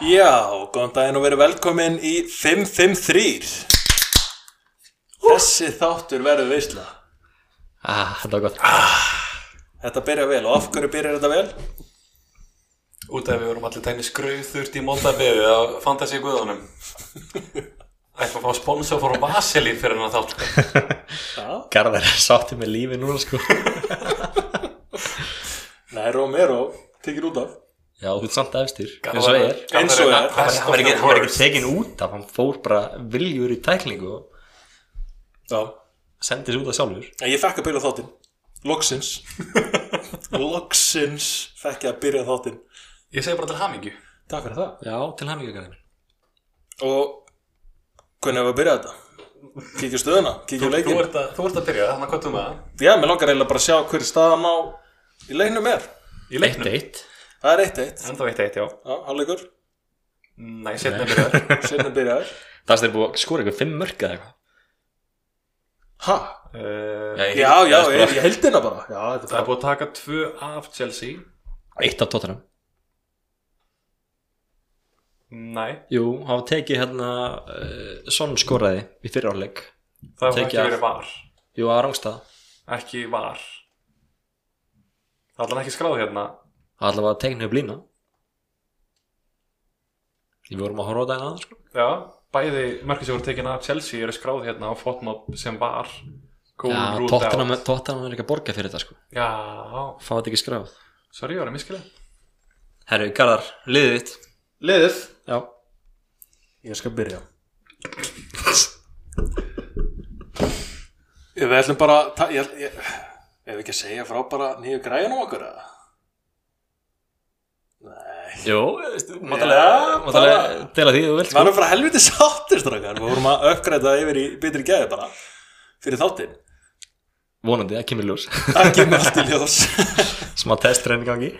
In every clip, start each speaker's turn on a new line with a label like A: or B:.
A: Já, góðan daginn og verið velkomin í 553 Þessi þáttur verður veisla
B: Ah, þetta var gott
A: Þetta byrjar vel og af hverju byrjar þetta vel?
C: Út af við vorum allir tæni skrauðþurft í mondabeðu á Fantasí Guðunum ætlum að fá sponsor frá Vaselín fyrir hennar þátt sko.
A: Já,
B: Garðar er sátti með lífi núna sko
A: nei, Romero, tekir út af
B: Já, þú ert samt efstir eins og er
C: Garðar
A: Eins og er.
C: hann- best
B: Hann var
C: of
B: ekki,
C: the
B: hann var ekki
C: worst.
B: tekin út af, hann fór bara viljur í tæklingu og
A: Já,
B: sendis út af sjálfur
A: en ég fekk að byrja þáttinn Loksins Loksins fekk ég að byrja þáttinn
C: Ég segi bara til hamingju
A: Takk fyrir það
B: Já, til hamingju garðin
A: Og hvernig hefur að byrja þetta? Kíkja á stöðuna, kíkja á
C: Þú
A: leikin
C: ert að, þú ert að byrja, þannig að hvað þú með um það?
A: Já, mér langar eiginlega bara að sjá hverju staðan á í leiknum er
C: Í
B: Eitt
C: leiknum?
B: eitt
A: Það er eitt eitt,
C: Enda veit eitt, já
A: já, hálfleikur,
C: Nei, setna byrjar
A: sinni byrjaður
B: Það sem þeir búið að skora eitthvað fimm mörg eða eitthvað
A: Ha?
C: Uh,
B: ég-
A: Já, já,
B: ég-
A: ég, ég held hérna bara Já, þetta
C: Það er búið að taka tvö af Chelsea
B: Eitt af tóttunum
C: Nei,
B: Jú, hann var tekið hérna uh, Son skoraði í fyrir áleik
C: það var
B: Tekið
C: ekki
B: af.
C: verið var
B: Jú, að rángstað
C: Ekki var Það er allan ekki skráð hérna
B: Alla var að tegna upp lína Við vorum að horfa á þetta en aðeins sko
C: Já, bæði mörgir sem voru tekin af Chelsea eru skráð hérna á Fotmob sem var Goal
B: Já,
C: ruled
B: tóttunum,
C: out.
B: tóttunum er ekki að borga fyrir þetta sko
C: Já,
B: Fá þetta ekki skráð
C: sorry, ég var að miskila
B: Herru, Garðar, liðið þitt
A: Liðið
B: Já
A: Ég skal byrja Við ætlum bara að ta- ég, ég, Ef við ekki að segja frá bara nýju græjunum okkur eða? Nei
B: Jó,
A: Já, bara-
B: máttalega Dela því þú vilt
A: Við varum frá helviti sáttir strákar Við vorum að uppgræta yfir í betri gæði bara Fyrir þáttinn
B: Vonandi, það kemur ljós
A: Ekki með allt í ljós
B: Smá testrenni gangi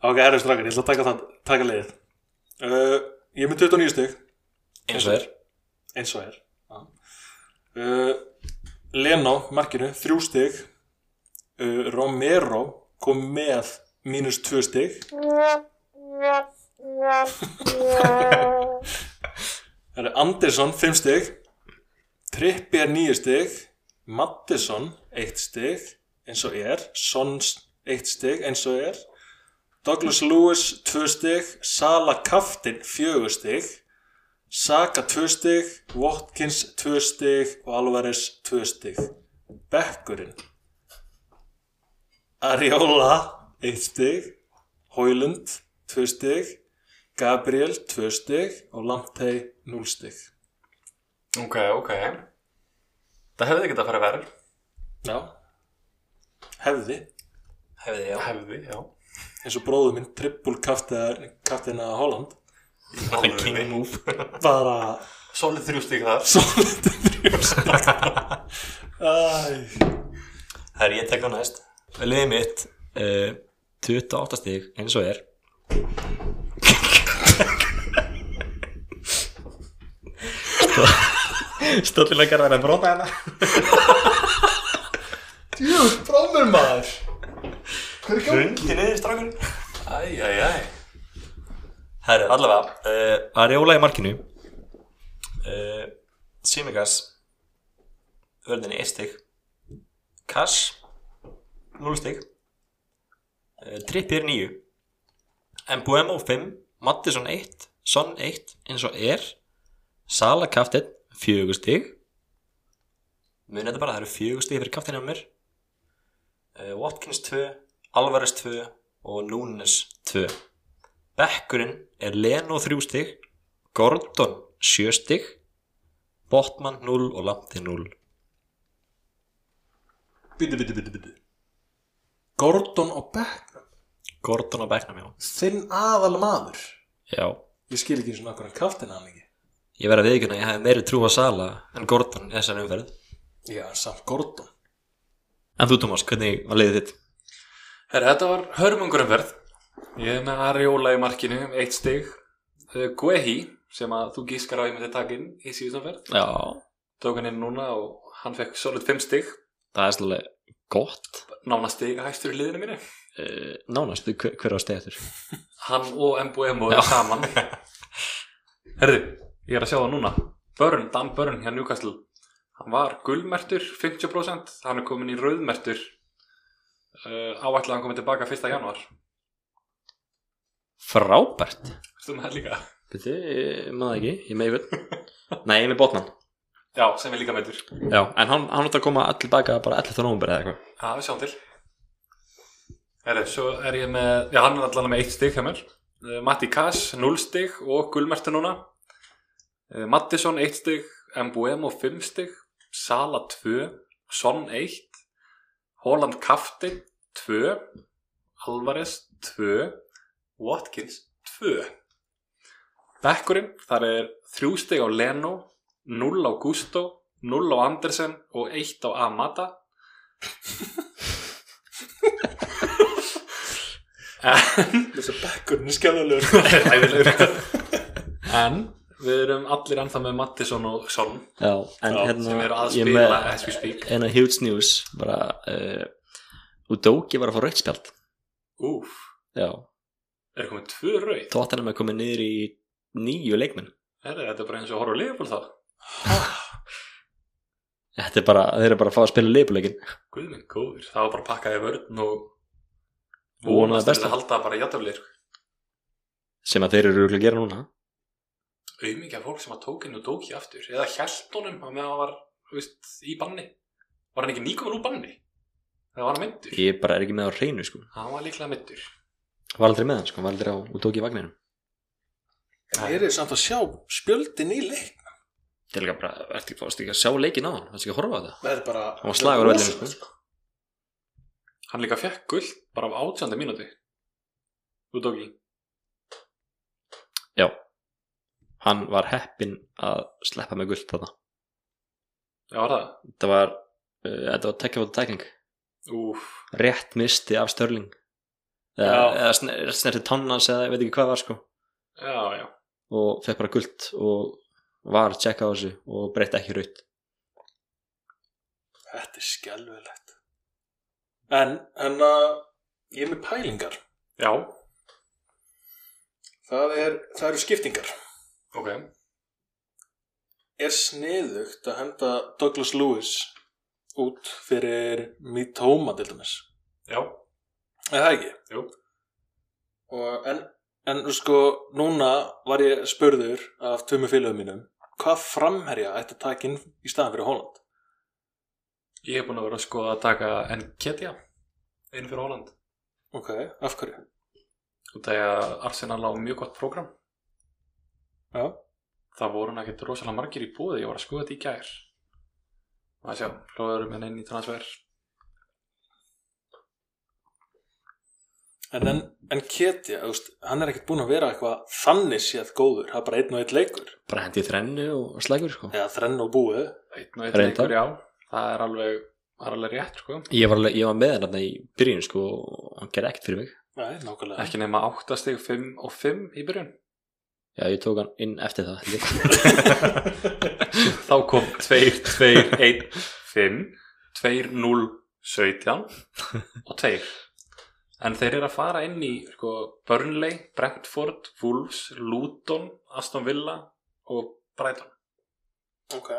A: Ok, herru strákar, ég ætla að taka, það, taka liðið uh, Ég er með 29 stygg
B: Eins og er
A: eins og er uh, Leno, markinu, þrjú stig uh, Romero kom með mínus tvö stig Það er Andersson, fimm stig Trippi er níu stig Mattisson, eitt stig eins og er Sons, eitt stig eins og er Douglas Lewis, tvö stig Sala Kaftin, fjögur stig Saka 2 stig, Watkins 2 stig og Alvarez 2 stig. Bekkurinn. Ariola 1 stig, Hoylund 2 stig, Gabriel 2 stig og Lamptey 0 stig.
C: Ok, ok Það hefði ekki að fara verður
A: Já. Hefði,
B: Hefði, já
C: Hefði, já
A: eins og bróðu minn, trippul kaftina Holland.
B: King move
A: Bara
C: Solid þrjú stík þar
A: svolítið þrjúst. Æ,
B: Herru, ég tek á næst Liðið mitt uh, 28 stig, eins og er Stóllina Garðar er að brota hérna
A: djúð, frámur maður. Hver er
B: Hundi niður strákurinn
C: Æ, æ, æ
B: Herru, allavega uh, Ariola í markinu uh, Simigas Vörðinni 1 stig Kass 0 stig uh, Trippir 9 Mbuemo 5 Mattisson 1 Son 1 eins og er Sala kaftin 4 stig Mun þetta bara, það eru 4 stig fyrir kaftinu á mér uh, Watkins 2 Alvarez 2 og Núnes 2 Bekkurinn er Leno 3 stig, Gordon 7 stig, Botman 0 og Lamti 0.
A: Bíti, bíti, bíti, bíti Gordon og Becknum
B: Gordon á Becknum, já.
A: Þinn aðal maður
B: Já,
A: Ég skil ekki svona okkur hann kaftin hann ekki
B: ég verð að viðkjöna, ég hef meiri trú á Sala en Gordon í þessari umferð.
A: Já, en samt Gordon
B: En þú, Tómas, hvernig var liðið þitt?
C: Herra, þetta var hörmungurumverð Ég er með Ariola í markinu, eitt stík uh, Guehi, sem að þú gískar á ég myndi takin í síðustanferð
B: Já,
C: Tók hann inn núna og hann fekk solid 5 stík
B: það er svolítið gott. Eh,
C: Nána stík hægstur í liðinu mínu
B: Uh, nánast, hver, hver á stegið þurr?
C: Hann og Mbuemo
B: Já.
C: saman Herðu, ég er að sjá það núna Börn, Dan Börn hjá Newcastle Hann var gulmertur 50% Hann er komin í rauðmertur uh, Áætlaði hann komið tilbaka 1. januar
B: Frábært
C: Ertu með það líka?
B: Byrju, ég maður það ekki, ég með yfir Nei, ég er með botnan
C: Já, sem er líka meitur Já,
B: Já, en hann, hann átti að koma all tilbaka bara 11. november eða eitthvað
C: við sjáum til Herðu, svo er ég með Já, hann er allan með eitt stig hjá mér uh, Matti Kass, 0 stig og gulmertur núna uh, Mattisson, 1 stig Mbuemo, 5 stig Sala, 2 Son, 1 Holland Kaftin 2 Alvarez 2 Watkins 2 Bekkurinn, þar er þrjú stig á Leno 0 á Gusto 0 á Andersen og 1 á Amata Eh,
A: Þessi bekkurinn er skjálfulegur
C: Æðilegur En við erum allir ennþá með Mattisson og Son
B: Já, en
A: Já,
B: hérna
C: sem eru að
B: ég er
C: spila
B: með
C: as we speak
B: eina huge news bara uh, Udóki var að fá rauðspjald
C: Úf,
B: Já,
C: er komið tvö rauð
B: tóttanum er komið niður í nýju leikmenn
C: Herri, Þetta er bara eins og að horfa á leifból þá
B: Þetta er bara, þeir eru bara að fá að spila leipuleikin
C: Guð minn góður, það var bara að pakka í vörn og
B: Vona það
C: vonast til
B: besta.
C: að halda bara játtöflir
B: sem að þeir eru örugglega að gera núna
C: auðmikið fólk sem að tók inn og dók í aftur eða hjælt honum að með hann var þú veist, í banni var hann ekki nýkomin úr banni eða var hann myndur
B: Ég bara er ekki með á reynu sko
C: hann var líklega myndur
B: Var aldrei með hann sko, var aldrei á Udóki vagninum
A: Það er samt að sjá spjöldin í leik
B: Þetta er líka bara, ertu ekki fórst ekki að sjá leikin á hann Það er ekki að horfa á það
A: Það er bara
B: Hann var slagur á vellinum, sko.
C: hann líka fekk gull bara á átjönda mínúti þú dók í
B: Já, hann var heppinn að sleppa með guld þarna
C: já var það
B: Þetta var, uh, þetta var tekjafóta tækning
C: úf
B: Rétt misti af Störling Eða,
A: Já.
B: eða sner- snerti tannans eða ég veit ekki hvað var sko
C: já já
B: Og fekk bara guld og var að checka á þessu og breytti ekki raut
A: Þetta er skjálfulegt En, en að ég er með pælingar
C: já
A: það, er, það eru skiptingar
C: ok
A: Er sniðugt að henda Douglas Lewis út fyrir Mitoma til dæmis
C: já
A: Er það ekki?
C: Jú.
A: Og, en, en sko, núna var ég spurður af tvömi félögum mínum hvað framherja ætti að taka inn í staðan fyrir Holland?
C: ég hef búin að vera að skoða að taka Nketja inn fyrir Holland
A: Ok, af hverju?
C: og það er að Arsenal á mjög gott prógram
A: Já,
C: það voru nægt rosalega margir í búði ég var að skoða þetta í gær og að sjá, hlóðurum henni inn í transfer
A: en, en, en Ketja, veist, hann er ekkert búinn að vera eitthvað þannig séð góður, það er bara einn og einn leikur
B: Bara hendi í þrennu og slægur sko
A: eða þrenn og búið
C: einn og einn
B: Reyndar.
C: leikur, já það er alveg, það er alveg rétt sko.
B: Ég var, alveg- ég var með hann þarna í byrjun sko og hann gerði ekkert fyrir mig
A: Nei, nákvæmlega
C: ekki nema 8 stig 5 og 5 í byrjun
B: Já, ég tók hann inn eftir það held ég.
C: þá kom 2, 2, 1 5, 2, 0 17 og 2 en þeir eru að fara inn í sko, Burnley, Brentford Wolves, Luton, Aston Villa og Brighton
A: Ok,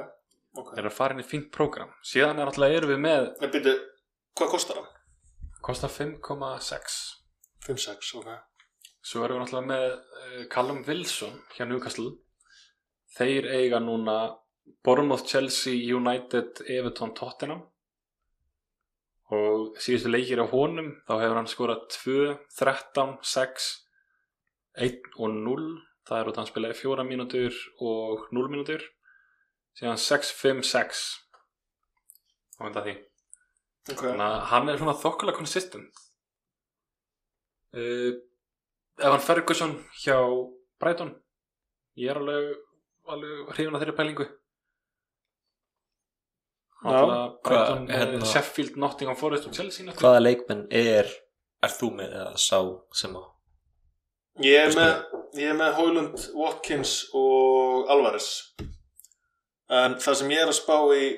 A: ok
C: Þeir eru að fara inn í fínt prógram síðan er alltaf erum við með
A: En byrju, hvað kostar hann?
C: Kosta 5,6
A: 5-6, ok
C: Svo erum við náttúrulega með uh, Callum Wilson hjá Newcastle Þeir eiga núna Bournemouth, Chelsea, United, Everton, Tottenham Og síðustu leikir á honum Þá hefur hann skorað 2, 13, 6, 1 og 0 Það er út að hann spilaði 4 mínútur og 0 mínútur Síðan 6, 5, 6 Og enda því
A: Ok,
C: Þannig að hann er svona þokkulega consistent uh, Evan Ferguson hjá Brighton Ég er alveg, alveg hrifin að þeirri pælingu
A: Já,
C: Náttúrulega Brighton
D: hvað, hérna-
C: með Sheffield, Nottingham Forest og Chelsea náttúrulega.
B: Hvaða leikmenn er
D: Er þú með eða sá sem á
A: Ég er með, ég er með Hoylund, Watkins og Alvarez En það sem ég er að spá í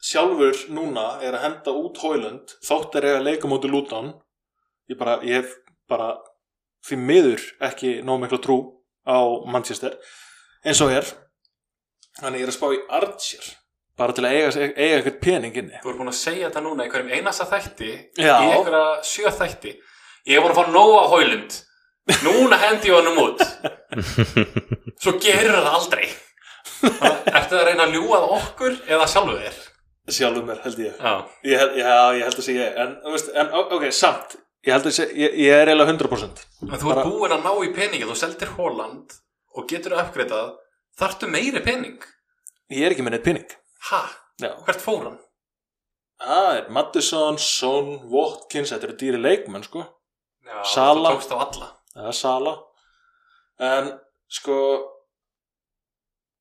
A: sjálfur núna er að henda út Hoylund þótt er ég að leika móti Luton Ég bara, ég hef bara því miður ekki nóg mikla trú á Manchester eins og er þannig ég er að spá í Archer bara til að eiga, eiga eitthvað pening inni
C: Þú ert búin að segja þetta núna í hverjum einasta þætti
A: Já.
C: Í einhverja sjö þætti Ég er búin að fá nóg á Hólund Núna hendi ég honum út Svo gerir það aldrei Ertu að reyna að ljúað okkur Eða sjálfu þér
A: sjálfum mér held ég
C: Já,
A: ég held, já, ég held að segja en, þú veist, en ó- ok, samt ég, held að segja, ég, ég er eiginlega 100%
C: en þú ert búin að ná í peningin Þú seldir Holland og getur að uppgreitað Þartu meiri pening
A: ég er ekki með neitt pening
C: Ha,
A: já
C: hvert fór hann?
A: Það er Madison, Son, Watkins, þetta eru dýri leikmenn sko,
C: Já,
A: Sala.
C: Þú tókst á alla
A: það er Sala en sko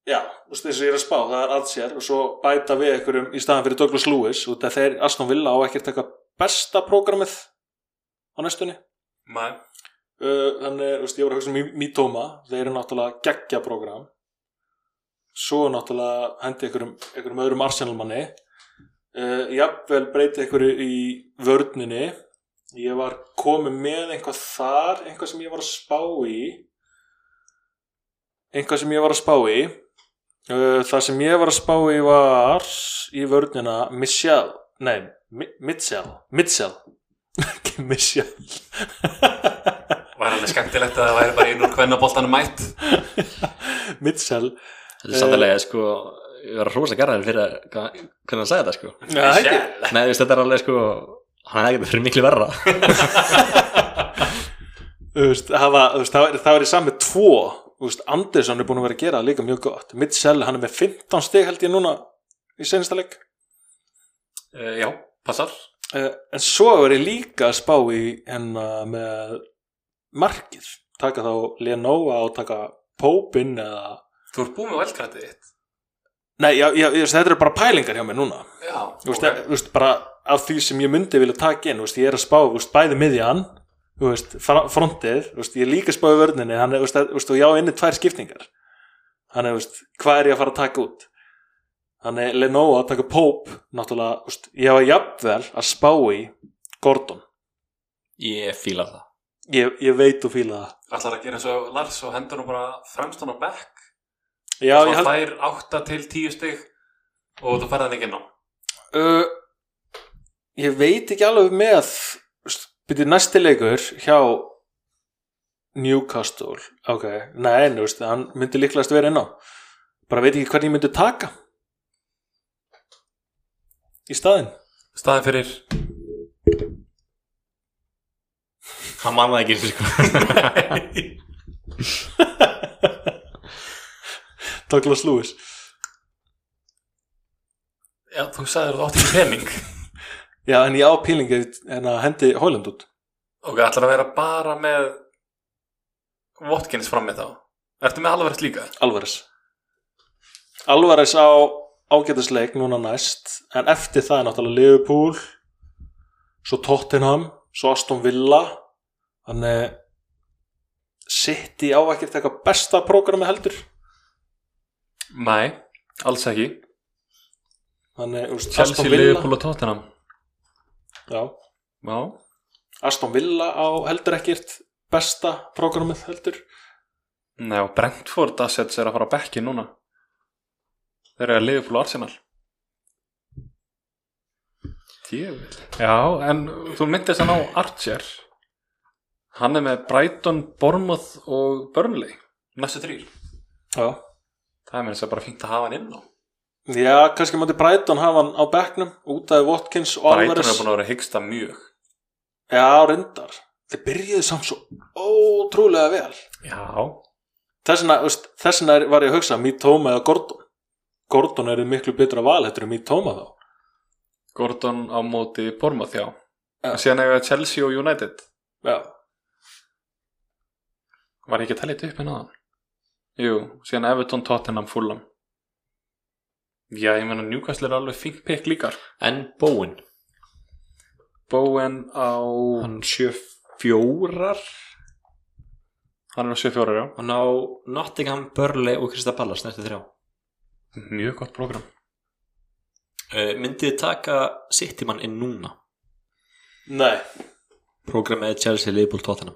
A: já, þú veist eins og ég er að spá það er Archer og svo bæta við einhverjum í staðan fyrir Douglas Lewis út af þeir Aston Villa á ekkert eitthvað besta prógramið á næstunni
C: Mæ,
A: uh, þannig, þú veist, ég var að hugsa um Mí- Mítoma þeir eru náttúrulega geggja prógram svo náttúrulega hendi einhverjum, einhverjum öðrum Arsenalmanni uh, jafnvel breyti einhverju í vörninni ég var komið með einhvað þar einhvað sem ég var að spá í einhvað sem ég var að spá í uh, það sem ég var að spá í var í vörnina Michelle, nei, Mi- Mitchell Mitchell, ekki Michelle
C: var alveg skemmtilegt að það væri bara einu kvennaboltanum mætt
A: Mitchell
B: Þetta er samtalið, sko, ég var að hrósa garðan fyrir að, hvað- hvernig hann sagði þetta, sko.
A: Nei,
B: Nei, þú veist, þetta er alveg, sko, hann hefði ekki fyrir miklu verra.
A: það væri samið tvo Þú veist, Andersson er búin að vera að gera það líka mjög gott Mitchell, hann er með 15 stig held ég núna í senasta leik
C: uh, Já, passar
A: uh, en svo er ég líka að spá í hennar með markið, taka þá Lenova og taka Pópin eða
C: Þú ert búin með velkrættið þitt
A: Nei, já, já, ég veist, þetta eru bara pælingar hjá mér núna
C: Já,
A: Þú veist, okay. veist, bara af því sem ég myndi vilja taka inn, þú veist, ég er að spá, þú veist, bæði miðjan, þú veist, fra- frontið, þú veist, ég er líka að spá í vörninni, hann er, þú veist, að- þú veist, og ég á inni tvær skiptingar. Þannig, þú veist, hvað er ég að fara að taka út? Þannig, Lenovo að taka Pope, náttúrulega, þú veist, ég var jafnvel að spá í Gordon.
B: Ég fíla það.
A: Ég, ég veit og fíla það.
C: Ætlar að gera eins og Lars og hendur nú bara fremst hann á bekk
A: Já,
C: Svo
A: ég held,
C: fær 8 til 10 stig og þú færði hann ekki ná
A: uh, ég veit ekki alveg með byrju næsti leikur hjá Newcastle ok, nei, en þú veist, hann myndi líklast vera inn á bara veit ekki hvernig ég myndi taka í staðinn
C: Staðin fyrir
D: Hann mannaði ekki eins og sko
A: Douglas Lewis
C: Já, þú sagðir að þú átt ekki pening
A: já, en ég á pílingi en að hendi Holland út
C: Ok, ætlar að vera bara með Watkins fram með þá Ertu með alvarist líka?
A: Alvarez Alvarez á ágætisleik núna næst en eftir það er náttúrulega Liverpool svo Tottenham svo Aston Villa þannig City á ekkert eitthvað besta prógrami heldur
C: Nei, alls ekki
A: þannig úst, Aston
C: Chelsea,
A: Villa
C: Liverpool og Tottenham
A: já,
C: Já,
A: Aston Villa á heldur ekkert besta prógramið heldur
C: Nei, og Brentford Assets er að fara á bekki núna Þeir eru að Liverpool og Arsenal Tjöfull Já, en þú myndist hann á Archer Hann er með Brighton, Bournemouth og Burnley Næstu þrýr
A: já,
C: Það er mér þess að bara fínt að hafa hann inn á
A: já kannski mátti Brighton hafa hann á bekknum út af Watkins og
C: Brighton
A: Alvarez
C: er búin að vera að hyggsta mjög
A: já, reyndar þeir byrjuðu samt svo ótrúlega vel
C: Já
A: Þess vegna, þú veist, þess vegna var ég að hugsa Mítoma eða Gordon Gordon er miklu betra val, þetta eru Mítoma þá
C: Gordon á móti Bournemouth, já
A: Já.
C: En Síðan hefur Chelsea og United
A: Já,
C: Var ég ekki að tala þetta upp en aðan? Jú, síðan Everton, Tottenham, Fulham Já, ég meina Newcastle er alveg fink pekk líkar
B: En Bowen,
C: Bowen á
B: hann sjö fjórar,
C: Hann er á 74, já
B: hann á Nottingham, Burnley og Krista Pallas, næstu þrjá.
C: Mjög gott program
D: uh,
B: Eh,
D: Myndið þið taka Citymann inn núna
A: nei
B: Programmið Chelsea, Liverpool, Tottenham.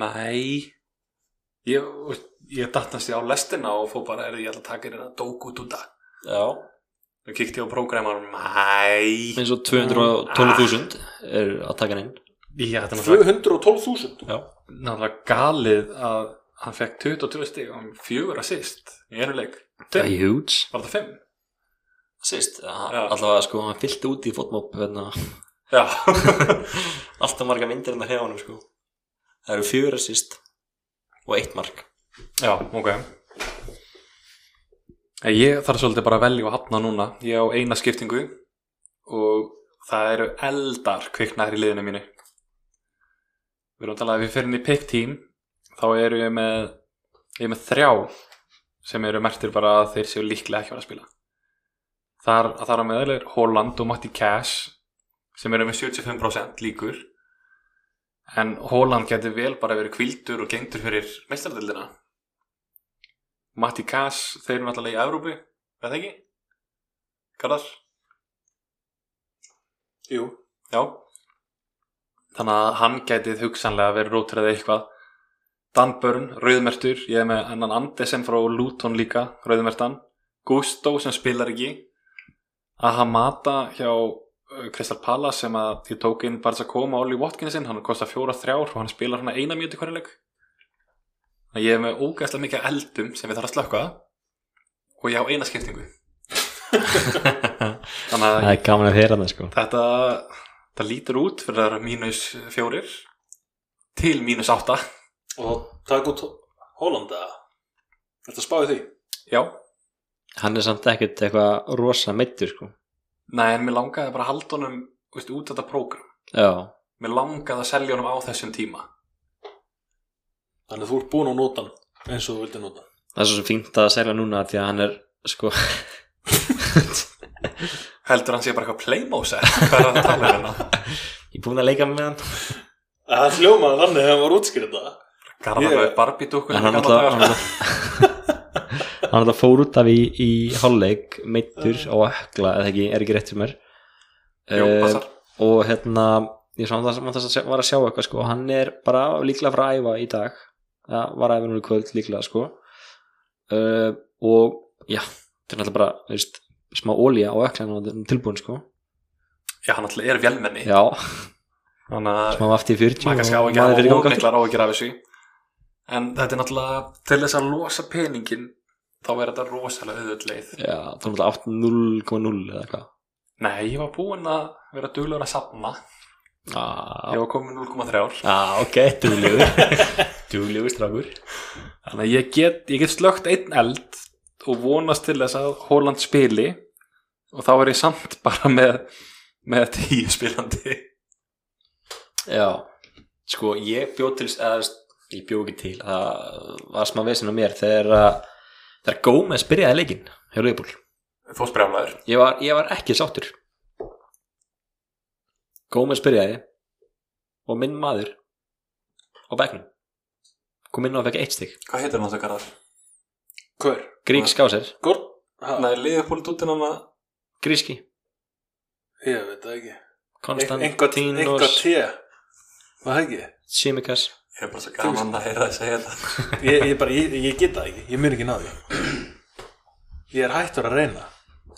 C: Nei Ég, ég dattast ég á lestina og fór bara, er ég ætla að taka hérna Doku Duda
D: Já,
C: og kíkti ég á prógræmanum, hæ
B: eins og 212.000 er að taka hann inn
C: Já, þetta er náttúrulega,
A: 212.000
D: já,
C: náttúrulega galið að hann fekk 22 stig og hann fjögur að sýst í einu leik
B: Það
C: Fimm.
B: er huge
C: Var það 5?
D: síst
C: Já.
D: Allavega sko, hann fyllti út í fótmóp hérna,
C: Já
D: Alltaf marga myndir
B: hérna
D: hennar hjá honum sko Það eru fjögur síst og eitt mark
C: Já, ok En Ég þarf svolítið bara að velja og hafna núna Ég á eina skiptingu og það eru eldar kviknar í liðinu mínu Við erum að tala að við fyrir inn í pick team þá eru ég með ég er með þrjá sem eru mertir bara að þeir séu líklega ekki að fara að spila Þar, þar að meðal er Holland og Matti Cash sem eru með 75% líkur en Holland getur vel bara verið kvildur og gengdur fyrir meistardildina Matti Kass, þeir eru náttúrulega í Evrópu, er það ekki? Garðar?
A: Jú,
C: Já. Þannig að hann gætið hugsanlega verið rótrið eitthvað. Dan Börn, rauðmertur, ég er með annan Andesen frá Luton líka, rauðmertan. Gusto sem spilar ekki. Ahamata hjá uh, Crystal Palace sem að ég tók inn bara að koma Ollie Watkinsin, hann kostar fjóra þrjár og hann spilar hann eina mjög til hverjuleik. Þannig að ég er með ógæslega mikið af eldum sem við þarf að slökka og ég á eina skiptingu. Þannig að
B: Það er gaman að heyra það sko
C: Þetta það lítur út fyrir að vera mínus fjórir til mínus átta
A: og takk út Hollanda Þetta spáði því
C: Já,
B: Hann er samt ekkert eitthvað rosa meittur sko
C: nei en mér langaði bara að halda honum veist, út þetta prógram
B: Já,
C: Mér langaði að selja honum á þessum tíma
A: Þannig að þú ert búin að nota hann eins og þú vildi nota hann.
B: það er svo sem fínt að segja núna því að hann er sko
C: Heldur hann sé bara eitthvað playmóser Hvað er hann að tala um hérna?
B: Ég er búin að leika með hann
A: Að Það hljómaði þannig að hann var útskýrða
C: Garðar
A: Ég-
C: yeah. Barbie dúkkur
B: En hann alltaf
C: sko.
B: Hann alltaf fór út af í, í hálfleik meittur á ökla eða ekki, er ekki rétt fyrir mér
C: Jú,
B: Eh,
C: passar
B: og hérna ég samt að, samt að sjá- var að sjá eitthvað sko hann er bara líklega að fara að æfa í dag ja, var að æfa núna í kvöld líklega sko uh, og já, þetta er náttúrulega bara þú veist, smá ólíja á ökla hann er tilbúin sko
C: Já, hann alltaf er velmenni
B: já,
C: Þannig að
B: smá afti í 40
C: maður kannski á
B: og
C: ekki að
B: maður fyrir
C: hafa
B: ganga aftur.
C: ómiklar á ekki af þessu En þetta er náttúrulega til þess að losa peningin þá er þetta rosalega auðvöld leið
B: já, þá er náttúrulega 8.0.0 eða eitthvað
C: Nei, ég var búinn að vera duglegur að safna Ég
B: ah,
C: var komin 0,3 ár
B: ah, ok, duglegur duglegur strákur
C: Þannig að ég get, ég get slögt einn eld og vonast til þess að Holland spili og þá er ég samt bara með með tíu spilandi
B: Já, sko ég bjó til eða, ég bjó ekki til það var smá vesinn á mér þegar að- þegar Gómez byrjaði leikinn hjá Leifbúl
C: Fósbrjálaður
B: ég var, ég var ekki sáttur Gómez byrjaði og minn maður á bekknum kom inn og fekk eitt stig
C: Hvað heitir hann það garðar?
A: Hver?
B: Grík skáser,
A: Gord? Ha,
C: Nei, liðupúli dúttinn hann að
B: gríski
A: ég veit það ekki Einhvað
B: Konstantínos,
A: te Var það ekki?
B: Simikas
C: Ég er bara svo gaman að heyra þess að segja þetta
A: Ég, ég, bara, ég, ég get það ekki, ég mun ekki ná því Ég er hættur að reyna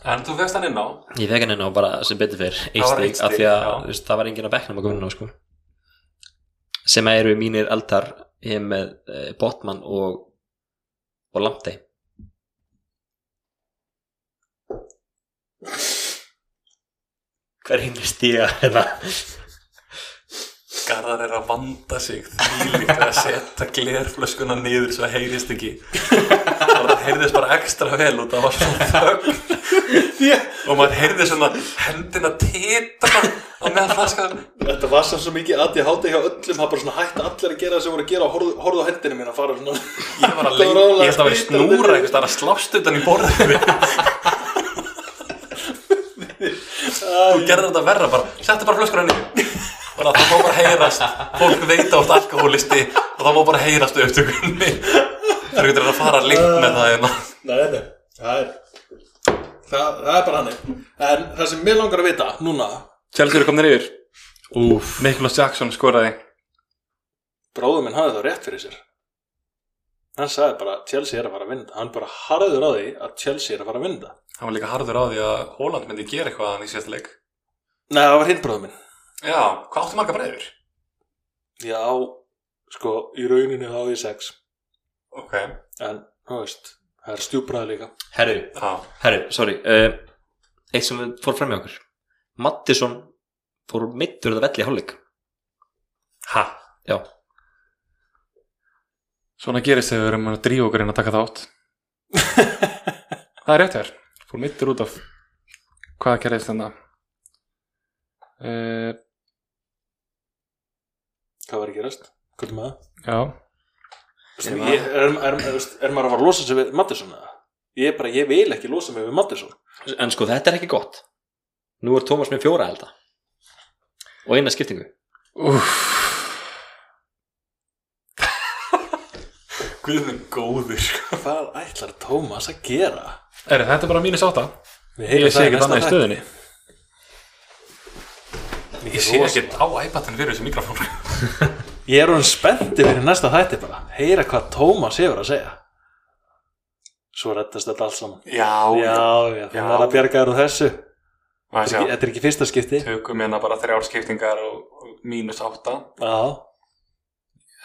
C: En þú fegst hann inn á
B: ég fekk hann inn á bara sem betur fyrr eitt
C: Það var
B: stig
C: eitt
B: af því
C: stig,
B: að
C: já.
B: þú veist, það var enginn að bekknum að koma inn á sko. sem eru mínir eldar ég er með eh, Botman og og Lamptey hver hinn stíga hérna
C: Garðar er að vanda sig því líkt að setja glerflöskuna niður svo heyrist ekki og það heyrðist bara ekstra vel og það var svona þögn og maður heyrði svona hendina titra á meðan flaskan
A: Þetta var samt svo mikið að ég háti hjá öllum það bara svona hætti allir að gera það sem voru að gera og horfðu, horfðu á hendinu mín að fara svona
C: Ég var að
A: Það var alveg
C: leita, ég held að vera í
A: skrítið.
C: snúra einhvers það er að slást utan í borðinu Þú gerði þetta verra bara, settu bara flöskuna henni Bara það má bara heyrast Fólk veit átt alkohólisti og það má bara heyrast upp tökunni Það er eitthvað að fara líkt með það hérna
A: Nei, nei, það er Það, það er bara hannig En það sem mér langar að vita núna
C: Chelsea eru komin yfir Úf Miklos Jackson skoraði
A: Bróður minn hafði það rétt fyrir sér hann sagði bara Chelsea er að fara að vinna hann bara harður á því að Chelsea er að fara að vinna
C: Hann var líka harður á því að Holland myndi gera eitthvað hann í síðasta leik.
A: Nei, það var hinnbróðum minn
C: Já, hvað áttu marga breyður?
A: Já, sko, í rauninu þá á ég sex
C: Ok, já.
A: en, þú veist, það er stjúbræði líka
B: herru, herru, sorry uh, eitt sem fór fram í okkur Mattisson fór mittur þetta velli í hálfleik
D: Ha?
B: já,
C: Svona gerist þegar við erum að drífa okkur inn að taka þátt. það er rétt hér. Fór mittur út af hvað hérna. gerist þarna. Uh,
A: hvað var að gerast, hvað er maður
C: já,
A: Ég, ég, er, er, er, er maður að fara að losa sig við Mattisson eða? Ég, er bara, ég vil ekki losa mig við Mattisson
B: en sko þetta er ekki gott nú er Tómas með fjóra held að og eina skiptingu
C: Úff
D: Guðmund góður
C: sko.
A: Hvað ætlar Tómas að gera?
C: Er þetta er bara mínus átta?
A: Við
C: Ég
A: heyrum
C: sé
A: það í
C: ekkert
A: næsta
C: annað í
A: þætti.
C: stöðinni
A: Mikið
D: Ég sé
A: rosa.
D: ekkert á iPadin fyrir þessu mikrofón
A: Ég er hún spennti fyrir næsta þætti bara Heyra hvað Tómas hefur að segja Svo rettast þetta allt saman
C: Já,
A: Já, já,
C: Já.
A: þannig er að bjarga þér úr þessu Þetta
C: Maður
A: er ekki-
C: sjá,
A: Þetta er ekki fyrsta skipti
C: tökum hérna bara þrjár skiptingar og og mínus átta
A: Já,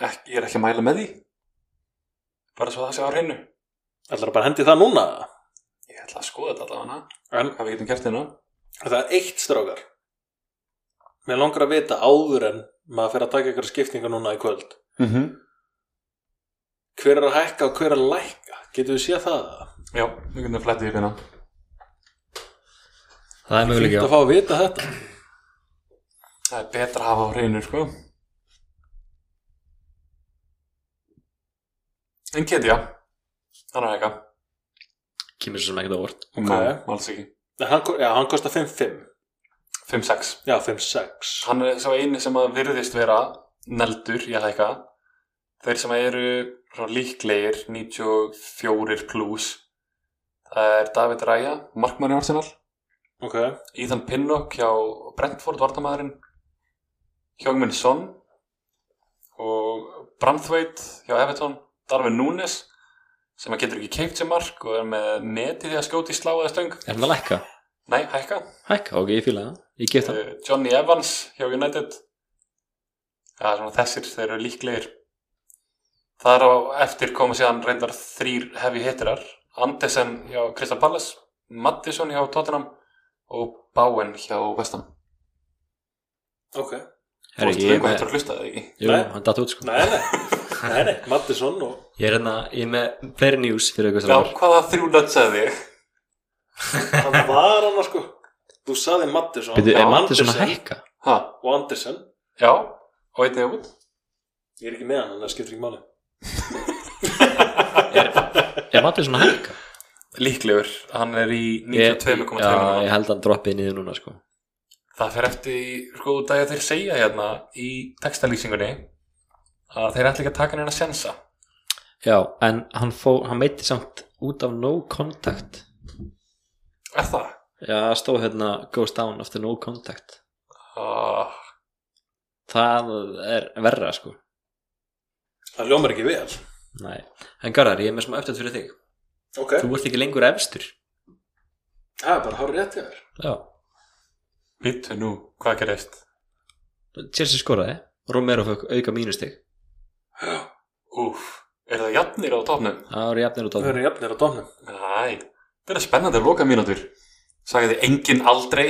C: Ek, Ég er ekki að mæla með því Bara svo það sé á hreinu
A: ætlar að bara hendi það núna
C: Ég ætla að skoða þetta allavega hana
A: En
C: Hvað við getum gert hérna
A: það er eitt strákar Mér langar að vita áður en maður fer að taka ykkur skiptinga núna í kvöld
C: mm
B: Mhm.
C: -hmm.
A: Hver er að hækka og hver er að lækka? Getum við séð það?
C: Já, við getum flettið upp hérna
B: það er
A: Fínt
B: möguleik
A: að fá að vita þetta
C: Það er betra að hafa á hreinu, sko En get, já Þannig að eitthvað
B: kemur svo sem ekkert á vort
A: Ok.
C: Máls ekki
A: En hann, ko- já, hann kostar 5-5
C: 5-6
A: Já, 5-6
C: hann er sá eini sem að virðist vera neldur í að hækka þeir sem eru svona líklegir 94 plus það er David Raya markmann í Arsenal,
A: Ok,
C: Ethan Pinnock hjá Brentford vartamæðurinn Hjóngmin Son og Branthwaite hjá Everton, Darwin Núnes sem að getur ekki keift sem mark og er með metið í að skjóti slá eða stöng
B: er hann að lækka?
C: nei, hækka
B: hækka, ok, ég fíla það ég get það
C: Eh, Johnny Evans hjá United það er svona þessir, þeir eru líklegir það er á eftir koma síðan reyndar þrýr hefi hittirar Andesen hjá Crystal Palace Mattisson hjá Tottenham og Bowen hjá Vestam
A: ok
C: Þú
B: Herri,
C: veist
B: ég er
C: löngu
B: með,
C: hættur að hlusta það ekki
B: jú,
A: Nei.
B: hann datt út sko
A: Nei, nei, nei, nei, Mattisson og
B: ég er, hérna, ég er með fleiri news fyrir ykkur
C: Já,
B: strákar.
C: hvaða þrjú nötsaði þig?
A: hann var hann sko Þú saði Mattisson
B: Bíddu,
A: og
B: er Mattisson að
A: Andersen
B: hækka?
C: Ha,
A: Og Andersen,
C: já, og einnig út
A: ég er ekki með hann, en það skiptir ekki máli
B: er Mattisson að hækka?
C: Líklegur, hann er í
B: Ég-
C: 92,2
B: já,
C: núna.
B: ég held að hann droppið niður núna sko
C: Það fer eftir, í- sko, það er þeir segja hérna í textalýsingunni að þeir ætla ekki að taka neina sensa
B: já, en hann, fó, hann meiti samt út af no contact
C: Er það?
B: já, stóð hérna goes down after no contact
C: Ah,
B: það er verra sko
A: Það ljómar ekki vel
B: Nei. en Garðar, ég er með smá uppdætt fyrir þig
A: Ok,
B: þú ert ekki lengur efstur
A: það er bara hár rétt hjá þér
B: já,
C: Vittu nú, hvað gerist?
B: Chelsea skoraði Romero fekk auka mínustig
C: Úf, er það jafnir á topnum?
B: það voru
A: Það
B: jafnir og dóttir
A: eru jafnir á domnum
C: Æ, þetta er spennandi að loka mínútur Sagði þið engin aldrei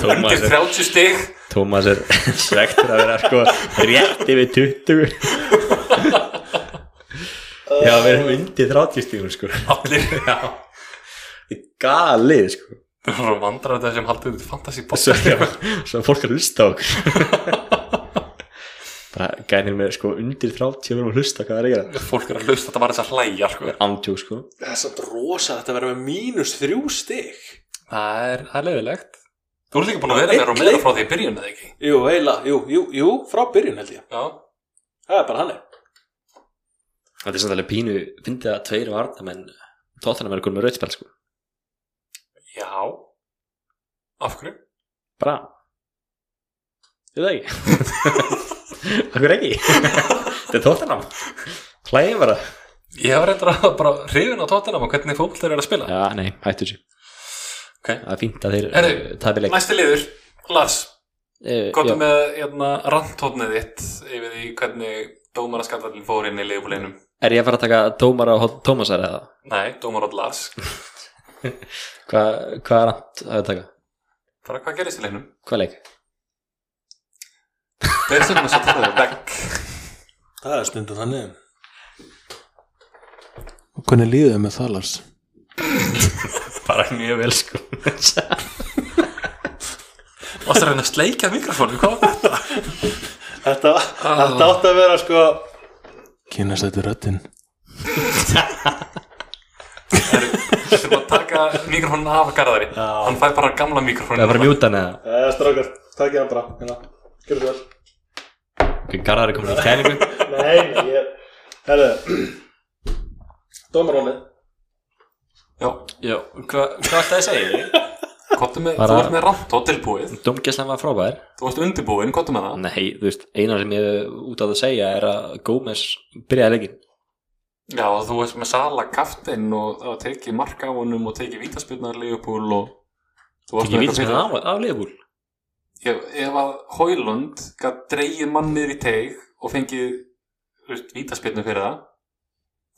C: Undir 30 stig
B: Tómas er svektur að vera sko rétt yfir 20 já, við erum undir 30 stígum sko
C: Allir
B: galið sko
C: Það er svo vandrar þetta sem haldið út fantasy box
B: svo, já, svo fólk er að hlusta á okkur bara gænir með sko undir 30 verðum að hlusta hvað það er að gera
C: Fólk er að hlusta þetta var þess að hlæja sko.
B: andjó sko
A: Það er samt rosa þetta verður með mínus þrjú stig
C: Það er, það er leiðilegt Þú ert ekki búin að vera með
A: Einn
C: Romero
A: leik.
C: frá því í byrjun eða ekki
A: Jú, eiginlega, jú, jú, jú, frá byrjun held ég
C: Já,
A: Það er bara hann
B: þetta er samt alveg pínu fyndið að tveir varna menn tóttanum er konum með rauðspjald sko
C: já Af hverju?
B: bara ég veit það ekki okkur ekki þetta er tóttanum hlæði bara
C: Ég var reyndar að bara hrifin á tóttinam og hvernig fólk þeir eru að spila
B: já, nei, hættu þessu
C: Ok.
B: það er fínt að þeir
C: Herru,
B: tabi leik
C: Næsti liður, Lars
D: um
C: Góttu
B: uh,
C: með hérna, randtófnið þitt yfir því hvernig dómaraskandallin fór inn í leifuleinum
B: er ég að fara að taka dómar á Tómasar eða
C: Nei, dómarótt Lars
B: hvað hva er hann að taka
C: Bara hvað gerist í leinum?
B: hvað leik
C: Þeir sem að setja það vekk
A: Það er stundum þannig Og hvernig líðið með það, Lars?
D: bara mjög vel sko
C: Og það er að sleikja mikrofónu, hvað var þetta?
A: Þetta, þetta átt að vera sko Kynast þetta röddinn
C: Þeir sem að taka mikrofónu af garðari Hann fær bara gamla mikrofónu
B: það er bara mjútan eða
A: Það er Eh, strákar, takk ég hann bara hérna. Gjörðu svo vel
B: ok, Garðar er komin í kælingu
A: Nei, nei, ég Herðu Dómaróni
C: Já,
D: já, hvað hva ætti að segja því?
C: Góttu með,
B: Bara-
C: þú ert með randtótt tilbúið
B: domgæslan var frábær
C: Þú ert undirbúin, góttu með það
B: Nei, þú veist, eina sem ég er út að það segja er að Gómez byrjaði leikinn
C: Já, og þú ert með sala kaftinn og það var tekið mark á honum og tekið vítaspirnar leifupúl og Þú varst
B: Ekki
C: með
B: vítið sem
C: eitthvað
B: það á, á leifbúl
C: ef, ef að Hólund gætt dreigið mann niður í teig og fengið þú veist, vítaspirnu fyrir það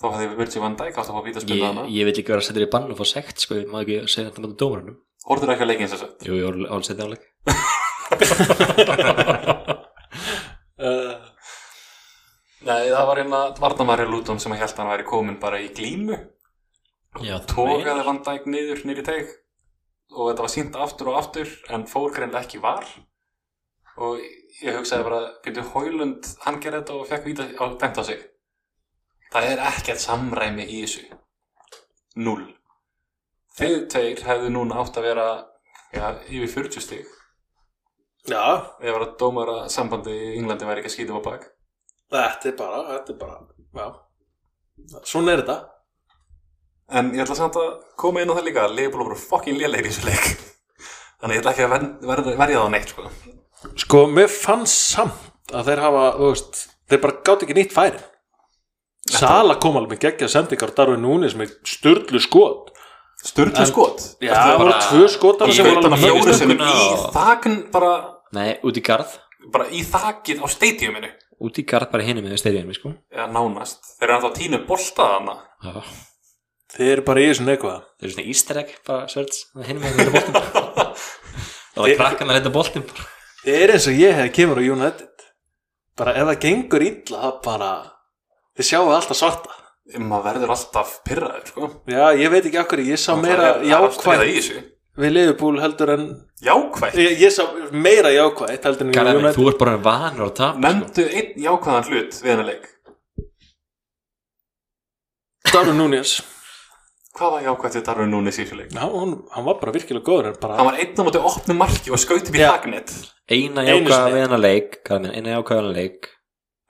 C: þá hefði Virgil van Dijk átt að fá vítaspirnu
B: ég,
C: hana
B: ég vil ekki vera að setja þér í bann og fá sekt sko, ég má ekki segja þetta með dómarunum
C: Hóruður ekki að leikin þess að
B: Jú, ég var alveg setja áleik
A: uh,
C: Nei, það var hérna Varnamæri Lúton sem held að hann væri komin bara í glímu
B: Já,
C: Tókaði van Dijk niður niður í teig og þetta var sínt aftur og aftur en fór greinlega ekki var og ég hugsaði bara getur Hólund, hann gerði þetta og fekk víta og dæmt á sig Það er ekkert samræmi í þessu Null Þið tveir hefðu núna átt að vera já, yfir 40 stig
A: Já,
C: ef að dómara sambandi í Englandi væri ekki að skýtum á bak
A: þetta er bara Þetta er bara, já Svona er þetta
C: En ég ætla samt að koma inn á það líka að Leopold voru fokkin lélegir í þessu leik Þannig ég ætla ekki að ver, ver, verja það neitt sko.
A: Sko, mér fannst samt að þeir hafa, þú veist, þeir bara gátt ekki nýtt færi. Sala kom alveg með geggja sendingar Darfi Núnes með störlu skot.
C: Sturlu skot
A: Já, það voru tvö skot af
C: Ég
A: sem
C: veit
A: voru
C: að
A: alveg mörg
C: fjóru
A: stöng.
C: sinni í
B: stönguna.
C: þakn bara,
B: Nei, út í garð
C: bara í þakið á stadiuminu
B: Út í garð bara hinum með steyriðinum, sko
C: Já, nánast Þeir eru alltaf tínu bolta þarna
B: Já.
A: Þeir eru bara í þessu neikvæða.
B: Þeir eru svona easter egg, bara sverts Hinum með þetta boltum Það var krakkan að leita boltum bara.
A: Þeir eru eins og ég hefði kemur á United. Bara ef það gengur illa, það bara, þeir sjáu alltaf svarta.
C: Maður verður alltaf pyrraður sko.
A: Já, ég veit ekki okkur, ég sá
C: Það
A: meira
C: er- það er allt
A: jákvæð
C: friðað í þessu.
A: við Liverpool heldur en,
C: Jákvæð
A: ég, ég sá meira jákvæð heldur en
B: Garðar,
A: United.
B: þú ert bara vanur að tapa sko.
C: Nefndu einn jákvæðan hlut við hennar leik
A: Darfi Núnes,
C: Hvað var jákvætt við Darun Núnes í þessu leik?
A: hann, hann var bara virkilega góður en bara
C: Hann var einn á móti opnu marki og skaut upp í
A: Já.
C: þaknet
B: Eina
A: Einu
B: jákvæða
A: sinni.
B: við hennar leik Garðar minn, eina jákvæða við hennar leik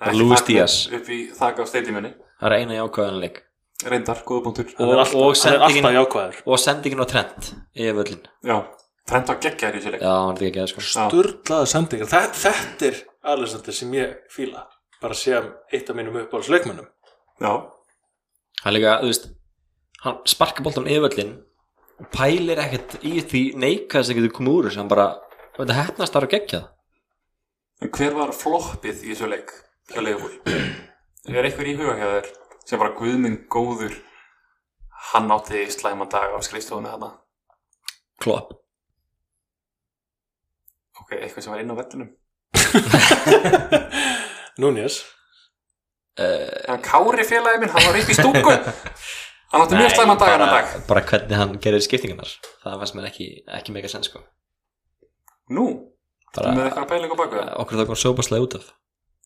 C: Það er
B: Og Luis
C: ekki
B: Díaz.
C: þak upp í þakka á stadiuminni
B: Það er eina jákvæða við hennar leik
C: reyndar, góða punktur
A: hann er alltaf,
B: og
A: hann er
B: sendingin-
A: alltaf jákvæður.
B: Og sendingin á trend Yfir völlin
C: já, trend á geggjaður í sér leik
B: Já, hann er ekki að sko
C: Já.
A: Sturlaða sendingar þetta, þetta er Alexander sem ég fíla bara sem eitt af mínum uppáhaldsleikmönnum
C: já,
B: hann líka, þú veist hann sparkar boltan yfirvöllin og pælir ekkert í því neikað sem getur komið úr þessu, hann bara þetta hefnast þar að gegja
C: en hver var floppið í þessu leik hjá leifbúi er einhver í huga hjá þér sem bara guðminn góður hann átti slæma dag á skrifstofunni þarna
B: klopp
C: ok, eitthvað sem var inn á vellinum
A: Núnes
B: uh,
C: en Kári félagi minn, hann var upp í stúku hann átti mjög slæma dag hann að dag
B: bara, bara hvernig hann gerir skiptingarnar það fannst mér ekki, ekki mega senn sko
C: nú,
B: bara,
C: með eitthvað pælingu baku það
B: okkur þá kom sópaslega út af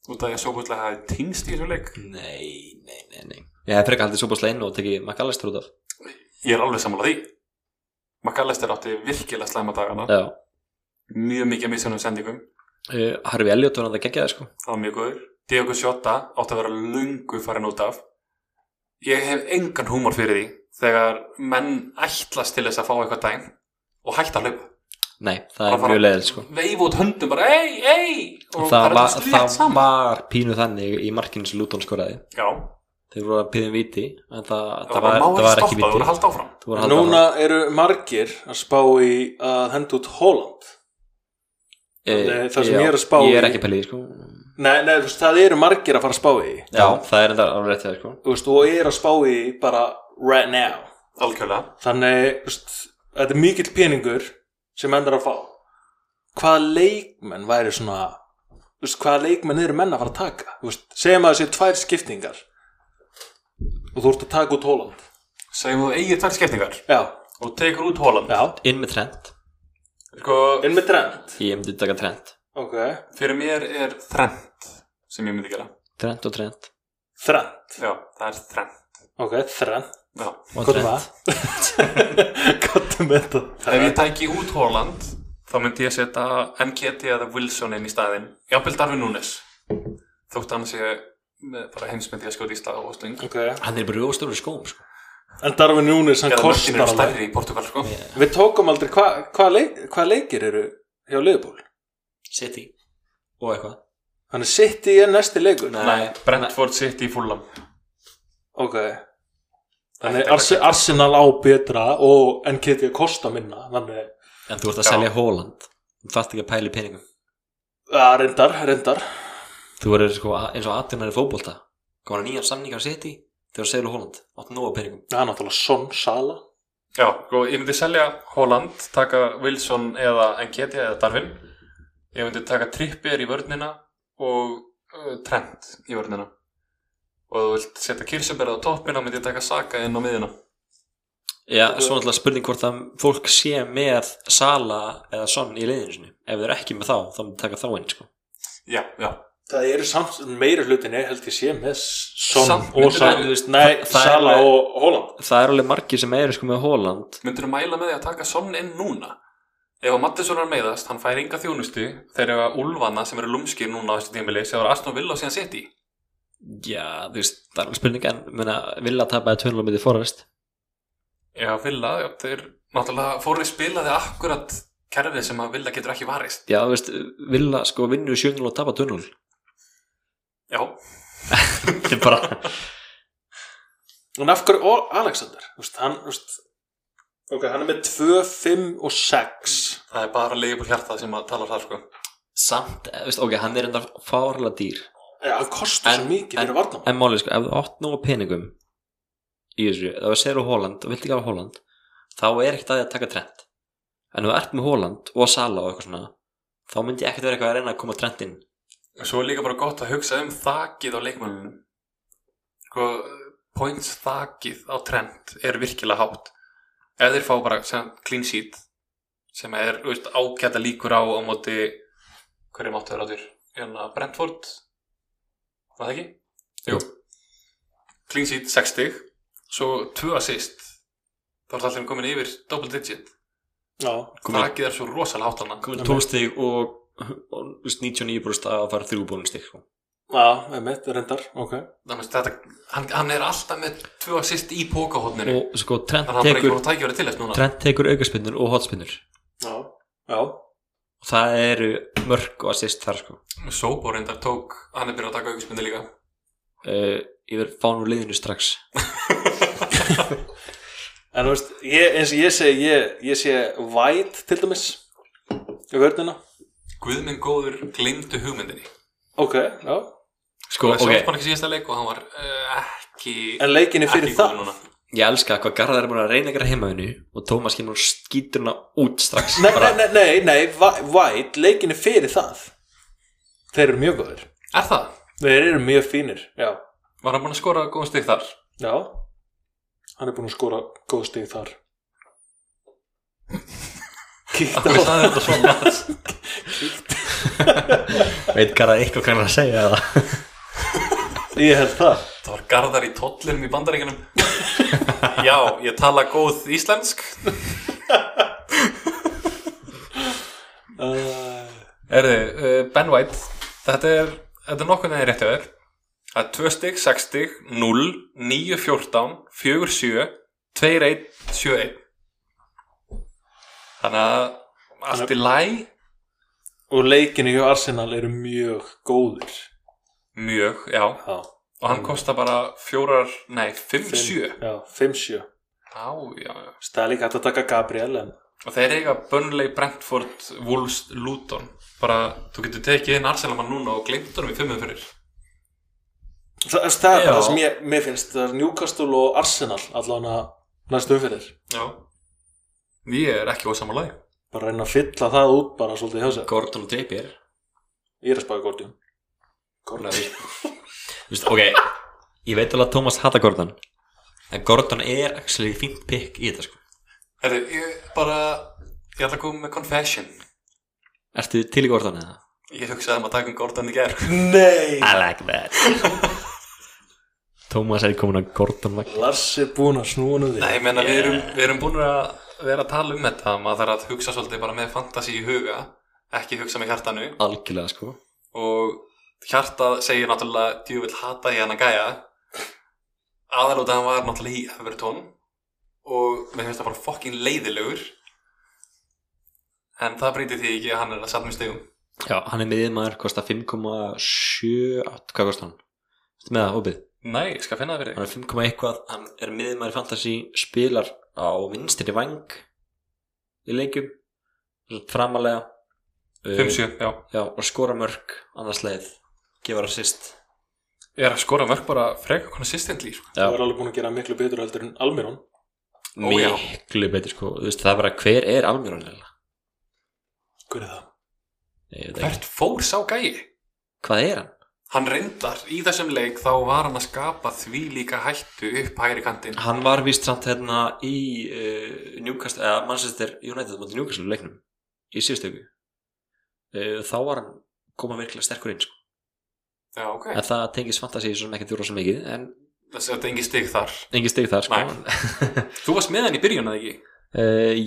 C: út af því að sóbúslega hafi týnst í þessu leik
B: nei, nei, nei, nei ég hef frekar haldið sópaslega inn og tekið McAllister út af
C: ég er alveg sammála því McAllister átti virkilega slæma dagana
B: já,
C: mjög mikið missunum sendingum
B: uh, Harfi Elliot var hann að gegja það sko
C: það var mjög góður Diego Sjóta átti að vera lungu farin út af ég hef engan húmor fyrir því þegar menn ætlast til þess að fá eitthvað dæm og hætta að hlaupa
B: nei, það
C: Bara
B: er
C: fara-
B: mjög leiðil sko
C: veifa út höndum bara ei, ei og
B: það
C: fara
B: var,
C: þetta slétt
B: það
C: saman
B: var pínu þannig í markinu sem Luton skoraði
C: já,
B: þeir voru að piðja um viti en það, það, var,
C: Það bara má
B: það
C: ekki
B: var ekki
C: stoppa, það
B: viti
C: voru að halda áfram
B: Þú voru að halda
A: Núna
B: áfram.
A: eru margir að spá í að henda út Holland Nei, það sem
B: já,
A: ég er að spá
B: ég er
A: í-
B: ekki pælið sko.
A: Nei, nei, þú veist, það eru margir að fara að spá í því.
B: já, það er enda alveg rétt það sko.
A: Þú veist, og eru að spá í því bara right now
C: Algjörlega
A: Þannig, þú veist, þetta er mikill peningur sem menn er að fá Hvaða leikmenn væri svona þú veist, Hvaða leikmenn eru menn að fara að taka Þú veist, segjum að það séu tvær skiptingar og þú ert að taka út Holland
C: Segjum þú eigið tvær skiptingar
A: Já,
C: og tekur út Holland
A: já,
B: inn með trend,
C: Sko,
A: inn með trend
B: ég myndi taka trend
A: Ok,
C: fyrir mér er þrennt sem ég myndi gera
B: trend og trend
A: þrennt
C: Já, það er þrennt
A: Ok, þrennt
C: Já
B: og
A: Hvað er
B: trend
A: það? Hvað er með
C: Ef
A: þetta?
C: ég tæki út Holland þá myndi ég setja MKT eða Wilson inn í staðinn Jafnvel Darwin Núnes Þótt hann sé með bara heimsmyndi að skjóta í slag og sling
A: Ok,
B: hann er bara rjóðstóru skóm sko.
A: en Darwin Núnes, hann
C: Eða mörkin
A: kostar
C: eru
A: alveg
C: stærri í Portugal sko yeah.
A: Við tókum aldrei, hvað hva leik, hva leikir eru hjá Liverpool?
B: city og eitthvað
A: Þannig City er næsti leikur?
C: Nei, Brentford City í Fulham
A: Ok.
C: Ekkert
A: Þannig
C: eitthvað
A: Ars Arsenal á betra og en Kitty að kosta minna. Þannig,
B: en þú ert að
C: Já.
B: selja Holland þú þarft ekki að pæli peningum
A: að reyndar, reyndar.
B: þú verður sko, a- eins og aðtunar í fótbolta komar að nýjan samning á City þegar þú selja Holland, átt nóga peningum
A: Það er náttúrulega Son, Sala.
C: Já, og ég myndi selja Holland, taka Wilson eða Nketi eða Darwin Ég myndi taka Trippier í vörnina og uh, Trent í vörnina Og ef þú vilt setja Kirseberð á toppina myndi ég taka Saka inn á miðina
B: já, svo náttúrulega spurning hvort að fólk sé með Sala eða Son í liðinu sinu ef þau eru ekki með þá, þá myndi taka þá inn sko.
C: Já, já
A: Það eru samt meira hlutinni, held ég sé, með Son
C: Samt
A: og
C: myndir
A: Sala.
C: það-
A: Nei, nei
B: það- það er
A: Sala
B: alveg-
A: og Holland.
B: það er alveg margir sem eru sko með Holland
C: Myndirðu mæla með því að taka Son inn núna? Ef að Mattisson var meiðast, hann fær enga þjónustu þegar ef að Ulfana sem eru lúmskir núna á þessu tímili sem var Aston Villa og síðan City
B: já, þú veist, það er alveg spurning en minna, vilja tapaði tönlum í forrest
C: Já, Villa, já, þeir náttúrulega fóru í spilaði akkurat kerfið sem að Villa getur ekki varist
B: já, þú veist, vilja sko vinnu sjöngul og tapa tönlum
C: Já,
B: þetta er bara,
A: En af hverju og Alexander? Þú veist, hann, þú veist, ok, hann er með 2, 5 og 6.
C: það er bara leifur hjartað sem að tala það sko
B: samt, eh, þú veist, ok, hann er enda fárlega dýr
A: Já, Eh, hann kostar svo
B: En-
A: mikið
B: en-
A: fyrir varnamann.
B: en málið sko, ef þú átt nógu peningum í þessu, ef þú segir á Holland og vilt ekki hafa Holland, þá er ekkert að því að taka trend, en ef þú ert með Holland og Sala og eitthvað svona þá myndi ég ekkert vera eitthvað að reyna að koma trend inn
C: Svo er líka bara gott að hugsa um þakið á leikmannunum Sko, points þakið á trend er virkilega hátt Ef þeir fá bara sem clean sheet sem er þú veist, ágæta líkur á á móti hverju máttu vera áttur hérna Brentford var það ekki? Jú Clean sheet 60 svo 2 assist þá er allir komin yfir double digit
A: Já,
B: Komin-
C: þakið er svo rosalega hátt hana
B: komin 12 stig og, og þú veist, 99 brúst að fara þrjú bónum stig sko.
A: já, einmitt, reyndar, ok.
C: Þannig að þetta, hann, hann er alltaf með 2 assist í pókahotninu
B: og sko trend
C: Þannig að hann bara ekki
B: tekur,
C: voru tækjafæri til þess núna
B: trend tekur aukaspinnur og hotspinnur
A: Já, já,
B: og það eru mörg og assist þar sko
C: Sóbo reyndar tók, hann er byrjað að taka auksmyndi líka
B: uh, ég verð fá nú liðinu strax
A: En þú veist, ég, eins og ég segi, ég, ég sé væt til dæmis í vörnina.
C: Guðminn góður glimtu hugmyndinni
A: Ok, já.
B: sko,
C: Það sátt
B: ok,
C: bara ekki síðasta leik og hann var uh, ekki
A: En leikin er fyrir
C: ekki
A: það.
C: góður núna.
B: ég elska hvað Garðar er búin að reyna að gera heimavinu og Tómas kemur og skýtur hana út strax
A: Nei,
B: bara,
A: nei, nei, nei, nei, væt, leikin er fyrir það. Þeir eru mjög góðir.
C: Er það?
A: Þeir eru mjög fínir, já.
C: Var hann búin að skora góðum stygg þar?
A: Já, hann er búinn að skora góð stig þar. Kíkta
C: Hvað
A: á
C: sagði þetta svona?
B: veit Garðar eitthvað hvað hann er að segja eða?
A: Ég held það.
C: það var garðar í tollinum í bandaríkinum Já, ég tala góð íslensk
A: Uh,
C: Erðu, uh, Ben White Þetta er, þetta er nokkuð neðið rétt hjá þér Það er 2 stygg, 6 stygg, 0 9, 14, 4, 7 2, 1, 7, 1 Þannig að allt í læ
A: og leikinu hjá Arsenal eru mjög góðir.
C: Mjög, já
A: Já.
C: og hann kostar bara fjórar, nei, Mm. fimm,
A: Fimm-
C: sjö
A: Já, 5-7
C: Já, já, já
A: Það er líka hægt að taka Gabriel en
C: Og þeir eiga Burnley, Brentford, Wolves, Luton Bara, þú getur tekið inn Arselamann núna og gleymt honum í fimmum fyrir
A: Það, það, það er
B: Já.
A: bara það sem ég, mér finnst það er Newcastle og Arsenal allan að næstu umfyrir
C: Já Ég er ekki ósamalagi
A: bara reyna að fylla það út bara svolítið hjá sér
B: Gordon og Trippier
A: Ég er að spáði Gordjón
C: Nei,
B: Þú veist, ok ég veit alveg að Thomas hata Gordon en Gordon er actually fínt pick í þetta sko
C: Herri, ég bara, ég ætla að koma með confession
B: Ertu til í Gordon eða?
C: Ég hugsaði um að taka um Gordon í gerð
A: Nei!
B: I like that Thomas er komin að Gordon vagn
A: Lars er búinn að snúa hann
C: Nei, ég meina, við erum, við erum búin að vera að tala um þetta Maður þarf að hugsa svolítið bara með fantasi í huga Ekki hugsa með hjartanu
B: algjörlega sko
C: Og hjartað segir náttúrulega Djúvill hata ég hann að gæja Aðalóta hann var náttúrulega í Everton Og mér finnst það bara fokkin leiðilegur En það breytir því ekki að hann er að satna í stegum
B: Já, hann er miðmaður, kostar 5,7 hvað kostar hann? Þetta með það, opið
C: Nei, ég skal finna það fyrir
B: Hann er 5, eitthvað, hann er miðmaður í fantasy spilar á vinstinni vang í leikjum framalega
C: þig. 5-7, já
B: Já, og skora mörg annars leið, gefur assist
C: Ég er að skora mörg bara frekar konsistently sko.
A: Þú er alveg búinn að gera miklu betur heldur en Almirón
B: Ó,
C: já.
B: miklu betur sko, þú veist það er bara hver er almjörn
A: Hver er það?
B: hvað
C: Hvert fór sá gæi?
B: er hann?
C: Hann reyndar í þessum leik þá var hann að skapa því líka hættu upp hægri kantinn
B: Hann var víst samt hérna í uh, Newcastle, eða Manchester United mútið Newcastle í leiknum í síðustöku uh, þá var hann koma virkilega sterkur inn sko.
C: Já, ok
B: en það tengis fantasi svo sem ekki þjóra svo mikið en
C: Þessi þetta er engin stig þar
B: engin stig þar sko.
C: Þú varst með hann í byrjun eða ekki?
B: uh,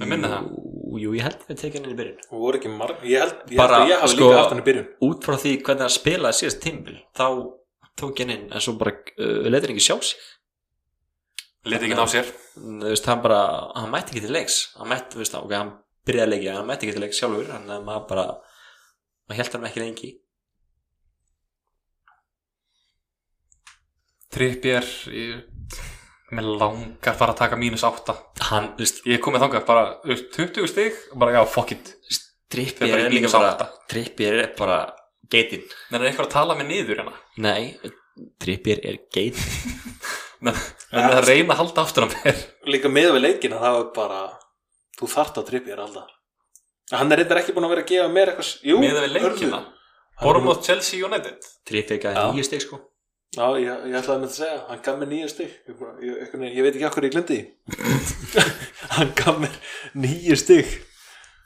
C: Mér minna það.
B: Jú, ég held að við tekið hann inn í byrjun
A: Þú voru ekki marg Ég held, ég,
B: Bara,
A: held að ég hafi
B: sko-
A: líka haft hann í byrjun
B: út frá því hvernig hann spilaði síðast tímbil þá tók ég hann inn en svo bara uh, leitir hann ekki sjá sig Mm,
C: Leti ekki ná sér
B: þú veist, hann bara, hann mætti ekki til leiks hann mætti, þú veist, ok, hann byrjaði að leikja hann mætti ekki til leiks sjálfur, hann maður bara maður held hann ekki lengi
C: Trippjér ég... Mér langar bara að taka mínus átta
B: hann, þú veist,
C: Ég kom með þangað bara þú veist, 20 stig og bara já, fuck it
B: Trippier
C: Þetta er
B: er
C: líka
B: líka bara
C: sátta.
B: Trippier er bara geitinn
C: Nei, er eitthvað að tala mig niður hérna
B: nei, Trippier er geitinn
C: Nei, Menn er að reyna að halda aftur á mér
A: Líka með við leikina það var bara Þú þart að trippja þér alltaf Hann er reyndar ekki búinn að vera að gefa mér eitthvað s- Jú,
C: Miðað við leikina
A: hörðu. Hann er búinn-
C: Bormóð Chelsea United
B: Trippier
A: Já.
B: gæði nýju steg sko
A: Já, ég, ég ætlaði með að segja Hann gaf mér nýju stig Ég, bara- ég, einhvern veginn- ég veit ekki okkur ég glemdi því Hann gaf mér nýju stig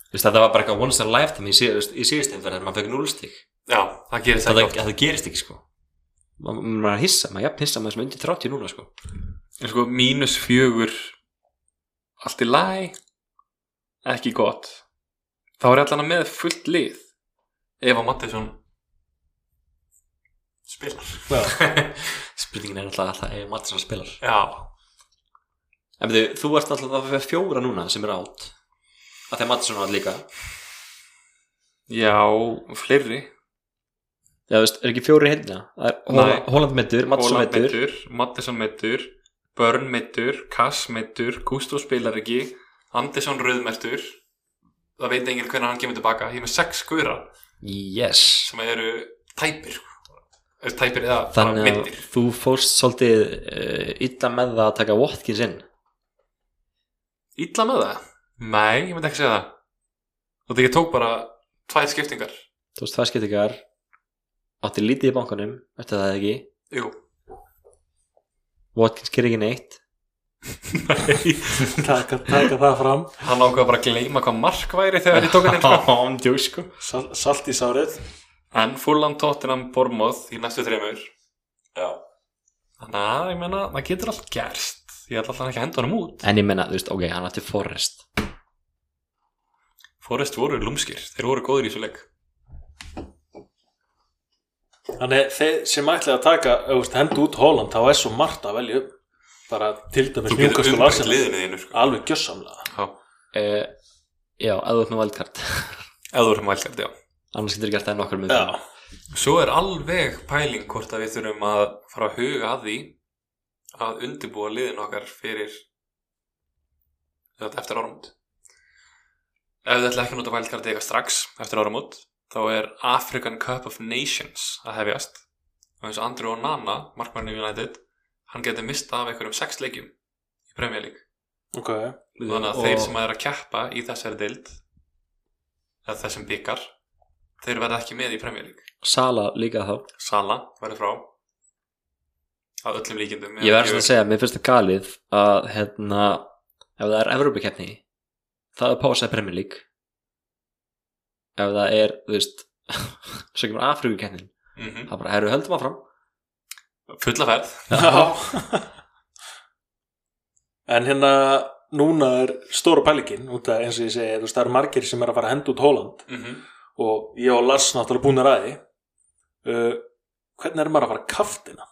B: Þú veist, þetta var bara eitthvað once in a lifetime í, síð, þú veist, í síðust umferð þegar maður fekk núl stig
C: Já, það gerist
B: það,
C: ekki
B: það, það gerist ekki sko Ma- maður er hissa, maður er jafn hissa maður sem undir 30 núna sko
C: En sko, mínus fjögur Allt í læ Ekki gott Þá er ég allan að með fullt lið Eva Mattisson Spilar
A: Já,
B: spurningin er náttúrulega alltaf ef Matisson spilar
C: Já,
B: En byrju, þú ert náttúrulega að fyrir fjóra núna sem er átt að þegar Mattisson átt líka Já,
C: já, fleiri
B: þú veist, er ekki fjóri hérna? Það er Hola-
C: Nei.
B: Holland meittur, Mattisson
C: Holland
B: meittur
C: meiddur, Mattisson meittur Börn meittur, Kass meittur Gustó spilar ekki Andersson rauðmertur Það veit enginn hvernig hann kemur tilbaka Ég er með sex guðra
B: Yes
C: sem eru tæpir Er tæpir eða bara
B: Þannig að
C: meiddir.
B: þú fórst svolítið uh, illa með það að taka Watkins inn
C: Ítla með það? Nei, ég myndi ekki segja það Og því ég tók bara tvær skiptingar
B: Þú veist, það skiptingar átti lítið í bankanum, eftir það eða ekki
C: Jú
B: Watkins gerir ekki neitt
A: taka, taka það fram
C: Hann ákvað bara að gleyma hvað mark væri þegar ég tók hann inn sko.
B: Án djók sko
A: Sal, Salt í sárið
C: En Fulham, Tottenham, Bournemouth í næstu þreymur Já Þannig að ég meina, það getur allt gerst Ég ætla alltaf ekki að henda honum út
B: En ég menna, þú veist, ok, hann átti Forrest
C: Forrest voru lúmskir, þeir voru góður í þessu leik
A: Þannig þeir sem ætlaði að taka ef þú veist, henda út Holland þá er svo margt að velja upp bara til dæmis
C: Þú getur
A: Newcastle
C: umbreytt
A: Arsenal.
C: liðinu þínu sko.
A: alveg gjössamlega
C: Já,
B: uh, Já, eða þú ert með valdkart
C: eða þú erum vælgært, já
B: Annars getur þú gert það í nokkur mynd
A: Já,
C: Svo er alveg pæling hvort að við þurfum að fara að huga að því að undirbúa liðin okkar fyrir þetta eftir áramót. Ef þið ætla ekki að nota vælkartið eitthvað strax eftir áramót, þá er African Cup of Nations að hefjast. Og eins og Andrew Onana, markmannir United, hann getur mistað af einhverjum sex leikjum í Premier League.
A: ok,
B: Mm,
C: Þannig að þeir sem er að keppa í þessari dild, eða þessum byggar, þeir verða ekki með í Premier League.
B: Sala líka þá
C: Sala verður frá að öllum líkindum
B: Ég verður svona að segja, mér finnst það galið að hérna, ef það er Evrópikeppni það er pásað Premier League ef það er, þú veist svo kemur Afríkukeppnin
C: mm
B: það er bara, herru, höldum áfram
C: fulla ferð
A: Já En hérna núna er stóra pælingin út að eins og ég segi, þú veist, það eru margir sem er að fara að henda út Holland
C: mm -hmm.
A: og ég og Lars náttúrulega búin að ræði uh, hvernig er maður að fara að kaftina?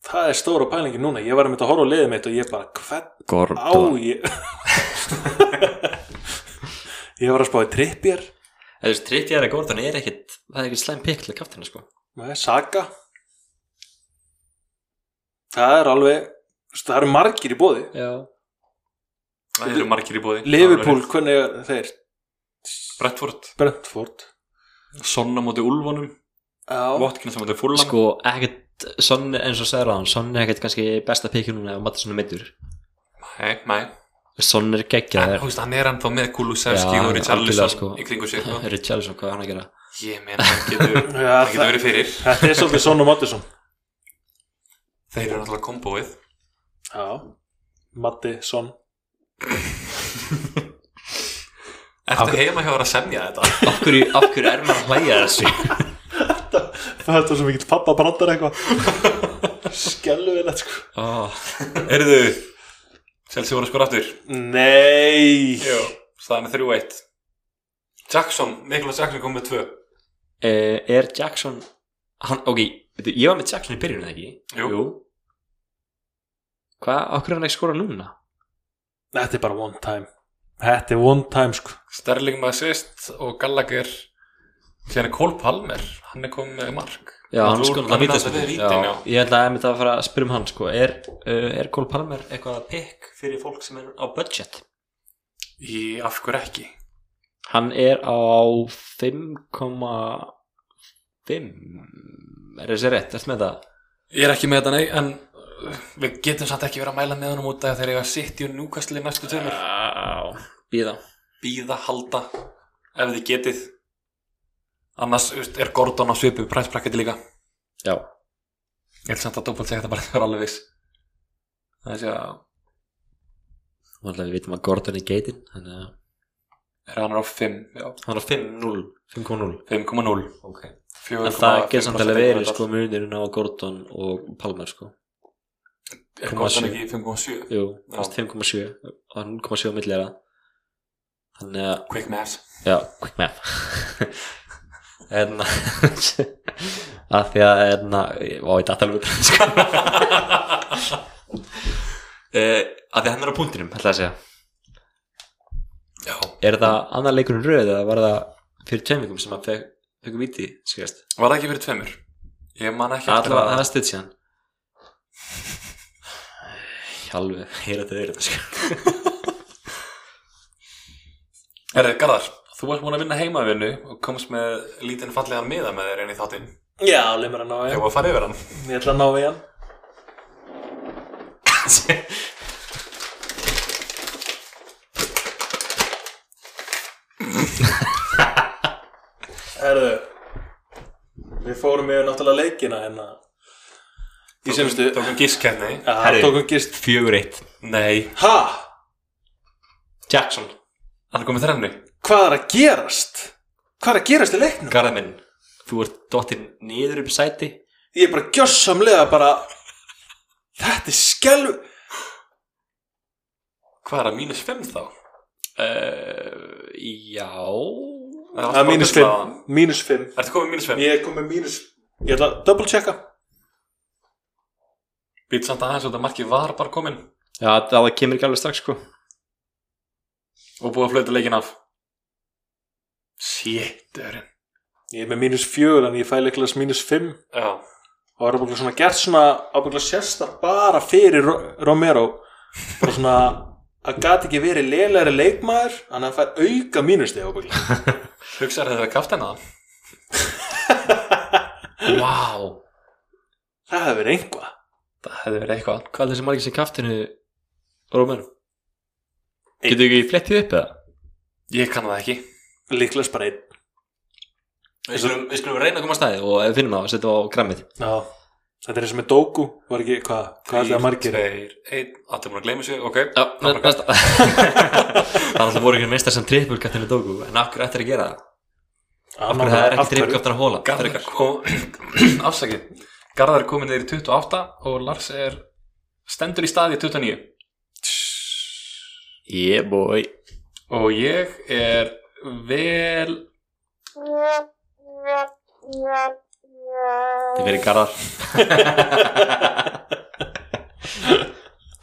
A: Það er stóra pælingin núna, ég var að mynda að horfa á liðið mitt og ég bara, hvern á
B: Gordo
A: ég Ég var að spáði trippjér
B: Þú veist, Trippier og Gordon er ekkit það er ekkit slæm pikk til að kaftina sko
A: Saga Það er alveg þú veist, það eru margir í bóði
B: Já,
C: Það eru margir í bóði
A: Liverpool, hvernig er þeir?
C: Brettford
A: Brentford
C: Sonna móti Ulfónum
A: Já,
C: Votkins móti Fulham
B: sko, ekkit Son, eins og sagði ráðan, Son er ekkit kannski besta pikki núna ef Mattisson er meittur
C: Nei, nei
B: Son er
C: En
B: geggjaður
C: þú veist, hann er ennþá með Kulusevski
B: Já,
C: og Richarlison
B: algjörlega, sko.
C: í kringu sér sko.
B: Richarlison, hvað er hann að gera?
C: Ég meina, hann getur,
A: Já,
C: hann getur
A: það-
C: verið fyrir
A: þetta er svolítið Son og Mattisson
C: Þeir eru náttúrulega kombóið
A: Já, Mattisson
C: Ertu heima hjá þér að semja þetta?
B: Af hverju, af hverju er maður að hlæja að þessu?
A: Það er það sem ekki pappa brandar eitthvað Skelvilegt sko
B: Oh,
C: Erðu Selsi voru skor aftur
A: Nei
C: Jú, staðan er 3-1 Jackson, Niklas Jackson kom með 2
B: Eh, er Jackson hann, ok, veitu, ég var með Jackson í byrjun eða ekki?
C: Jú.
B: Hvað, af hverju er hann ekki skora núna?
A: Þetta er bara one time Þetta er one time sko
C: Sterling með assist og Gallagher síðan er Cole Palmer hann er komið með mark
B: Já, hann
C: Þú-
B: skora það
C: náttúrulega
B: vítaspilni
C: vítin, já.
B: Ég ætla að mynda að fara að spyrja um hann sko. er, uh, er Cole Palmer eitthvað pikk fyrir fólk sem er á budget?
C: í af hverju ekki
B: Hann er á 5,5 Er þessi rétt, ertu með það?
C: ég er ekki með þetta nei en uh, við getum samt ekki verið að mæla með honum út af þegar ég var sitt í núkastli næstu tveimur
B: Já, býða
C: býða halda ef þið getið annars þú veist, er Gordon á svipu præsprakketi líka
B: Já,
C: ég held samt að doppelt segja þetta bara þegar alveg viss það sé að
B: og alltaf við vitum að Gordon er geitin þannig að
C: er hann á 5 já,
B: hann er á 5-0 5,0
C: 5,0
B: ok en
C: 4,5%
B: það getur samt alveg verið sko munirinn á Gordon og Palmer sko
C: er Gordon ekki 5,7
B: jú,
C: Já.
B: fast 5,7 og 0,7 á milli er það þannig að,
C: quick math
B: já, quick math en að því að en að, vá, ég datt alveg sko. út, sko uh, að því að hann er á punktinum ætla að segja,
C: já
B: er það annar leikurinn röð eða var það fyrir tveimingum sem að fekk, fekk viti, skjast
C: Var það ekki fyrir tveimur? Ég man ekki eftir
B: Allavega, það
C: að
B: er stutt síðan Hjálfið, heyra þetta verið sko.
C: Erðið, Garðar, þú ert múin að vinna heimavinnu og komst með lítinn fallegan miða með þér inn í þáttinn
A: Já, leið mér að ná í
C: Þegar
A: hann
C: var að fara yfir hann
A: Ég ætla að ná í hann
B: sko.
A: Herðu Við fórum yfir náttúrulega leikina hérna Í semstu
C: Tókum gískenni
A: Það
B: Herðu.
A: tókum gist
B: Fjögur eitt
C: Nei,
A: Ha?
B: Jackson
C: hann er komið þrennu
A: Hvað er að gerast? Hvað er að gerast í leiknum?
B: Garðar minn, þú ert dottinn niður upp í sæti
A: Ég er bara gjössamlega bara Þetta er skelv
C: Hvað er að mínus 5 þá?
B: uh, Já
A: Það er mínus 5 Mínus 5
C: Ertu komið mínus 5?
A: Ég er komið mínus Ég ætla að double checka
C: Být samt aðeins og þetta markið var bara komin
B: Já, það, það kemur ekki alveg strax sko
C: og búið að flöta leikin af Sétturinn
A: ég er með mínus fjögur en ég fæ leiklega mínus fimm
C: já,
A: og er ábygglega svona gert svona ábygglega sérstak bara fyrir Ro- Romero bara svona að gat ekki verið lélæri leikmaður en hann fær auka mínusti ábygglega
C: hugsaður þetta að kafta hennar
B: Vá
A: það hefur verið einhvað
B: Það hefði verið eitthvað Hvað er þessi margir sem kaftinu Rómer?
A: Einn.
B: Getur ekki flettið upp eða?
C: ég kann það ekki
A: líklega bara einn
D: Við skulum, við skulum
B: Það
D: reyna
B: komast aðeins og ef við finnum það og setja á grammið
A: Já, þetta er eins og með Doku var ekki, hvað, hvað er það margir?
C: Tveir, einn, allir búin að gleyma sér, ok
B: Já, næ- næsta Það er alltaf voru ekki meistar sem trippur kaftinu Dóku En akkur ættir að gera það? Af hverju það er ekki trippur kaftinu Hóla?
C: Garðar kom afsakið Garðar er komin neyri 28 og Lars er stendur í staði 29
B: Yeah boy
C: og ég er vel
B: Þið verið garðar
C: Það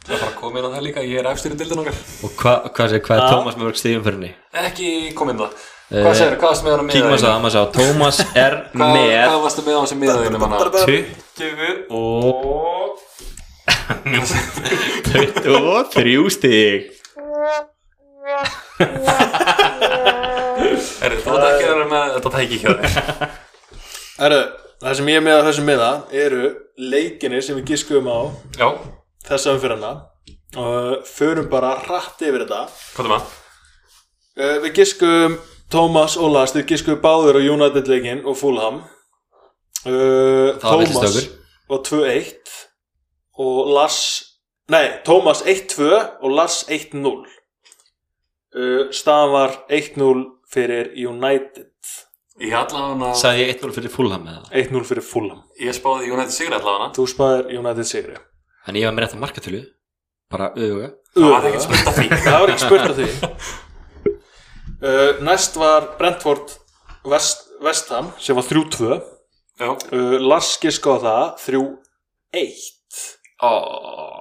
C: er bara að koma inn á það líka, ég er efstur í dildan okkar
B: Og hvað hva, hva er
A: Já.
B: Tómas með mörg stíðum fyrir henni?
C: Ekki koma inn á það Hvað segir, hvað varstu með hann að miða
B: Kíkum að sá, að maður sá Tómas er með
C: Hvað varstu með hann sem miða þínu manna?
B: 20 og 23 stíg
C: Er þetta ekki að vera með þetta tæki hjá þér?
A: Herru, það sem ég er með að þessum miða eru leikinir sem við gískuðum á
C: Já,
A: þessa umfyrirna og förum bara hratt yfir þetta
C: hvað er maður?
A: uh, Við gískuðum Tómas og Lars, þau gískuðu báður á United leikin og Fulham uh,
B: Það var
A: Tómas
B: villistökur.
A: var 2-1 og Lars Nei, Tómas 1-2 og Lars 1-0 uh, Staðan var 1-0 fyrir United
C: Ég allavega hana,
B: Sæði ég 1-0 fyrir Fulham með það
A: 1-0 fyrir Fulham
C: ég spáði United sigra allavega hana
A: Þú spæðir United sigri
B: En ég var með rétt að markatölu Bara auðvitað
C: Það var ekkert spurt að því
A: Það var ekki spurt að því uh, Næst var Brentford Vest, Vestham sem var 3-2 uh,
C: Já,
A: Lars giska á það 3-1
C: Ó.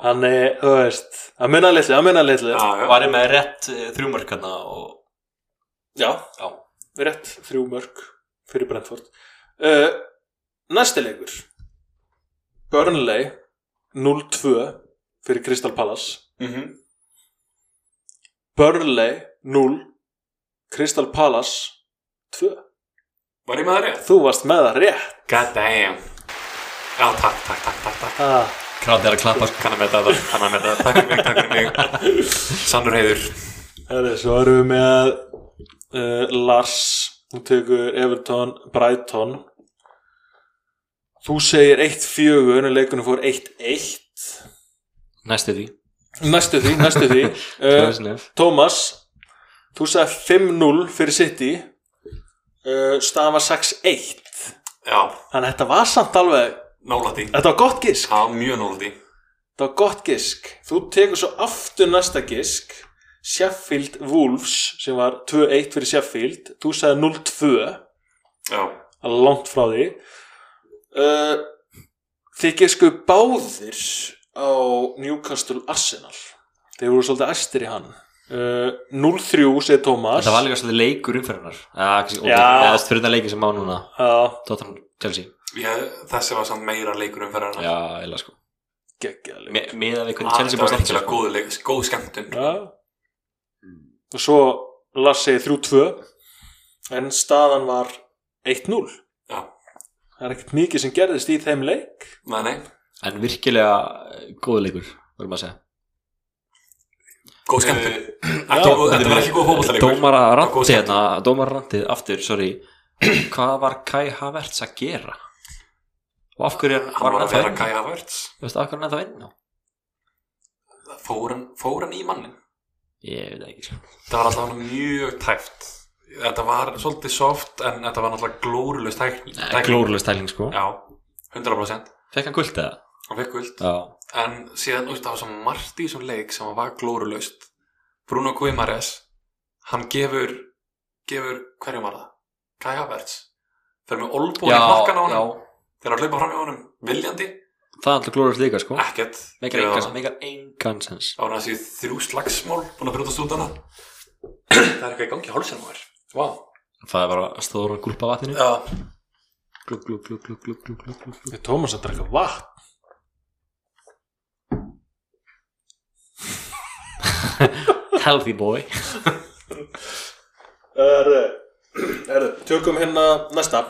A: Hann er, þú veist að munna litli, að munna litli
C: já, já.
D: Var ég með rétt
B: eh, hérna
D: þrjumörkarna og
A: Já,
D: Já.
A: rétt þrjú mörg fyrir Brentford uh, Næsti leikur Burnley 0-2 fyrir Crystal Palace
C: Mhm.
A: Burnley 0 Crystal Palace 2
C: Var ég með það rétt?
A: Þú varst með það rétt
C: God damn Já, takk, takk, takk, takk, takk
A: ah,
B: Krafið er að klappa sko.
C: Kann að metta það, kann að metta það Takk fyrir mig, takk fyrir mig Sannur heiður
A: herri, Svo erum við með uh, Lars Hún tekur Everton, Brighton Þú segir 1-4 en leikunum fór 1-1
B: Næstu því
A: Næstu því, næstu því uh,
B: Klöðsnef
A: Thomas Þú sagði 5-0 fyrir City uh, Staðan var 6-1
C: Já,
A: Þannig að þetta var samt alveg
C: nálætti
A: Þetta var gott gisk
C: Já, mjög nálætti
A: Það var gott gisk. Þú tekur svo aftur næsta gisk. Sheffield Wolves sem var 2-1 fyrir Sheffield. Þú sagði 0-2.
C: Já,
A: Það er langt frá því. Uh, þið gisku báðir á Newcastle Arsenal. Þeir voru svolítið æstir í hann. Uh, 0-3 segir Thomas.
B: Þetta var líka svolítið leikur umferðunar Já
A: Já.
B: Það er fyrir það leikin sem má núna
A: Já,
B: Tottenham Chelsea
C: ég, þessi var samt meira leikur um fyrir hana
B: Já, eða sko
A: geggjaðlega.
B: Me- Miðað við hvernig Chelsea búið
C: Ah, Þetta var
B: að
C: eitthvað
B: standa sko.
C: góð, leik- góð skemmtun
A: Já. Og svo Lars segir 3-2. En staðan var 1-0.
C: Já,
A: Það er ekkert mikið sem gerðist í þeim leik
C: nei, nei,
B: En virkilega eh, góð leikur Verðum að segja
C: góð skemmtun Ekki góð- Þetta var ekki góð fótbollleikur
B: Dómara
C: Góð
B: randi
C: skemmtun.
B: hérna Dómara randi aftur, sorry Hvað var Kai Havertz að gera? Og af hverju er-
C: Hann
B: var
C: var
B: hann
C: að
B: ennþá
C: vera
B: inn á?
C: Kaja Vörts
B: Þú veist, af hverju er hann ennþá inn á?
C: Fór hann fór hann í mannin
B: Ég veit það ekki sko
C: Það var alltaf mjög tæft Þetta var svolítið soft en þetta var náttúrulega glórulust tækni
B: Glórulega stæling sko
C: Já, 100%
B: Fekk hann gult eða?
C: Hann fekk guld
B: Já
C: En síðan, þú veist, það var svo margt í þessum leik sem var glórulaust Bruno Guimares Hann gefur, gefur, hverjum var það? Kai Havertz Þeir með olbúin í hnakkan á
B: já
C: honum Þeir að hlaupa fram í honum, viljandi
B: Það er alltaf glórulega líka sko
C: Ekkert
B: Megar engan, megar engan sens
C: Á hann að séu þrjú slagsmál búin að brjótast út hana Það er eitthvað í gangi í hálsinum á þér Vá,
B: það er bara stóra gúlpa vatninu
E: Já,
B: glug, glug, glug, glug, glug, glug, glug, glug, glug.
A: Er Tómas að drekka vatn?
B: healthy boy
A: Erðu, erðu, tökum hérna næsta uh,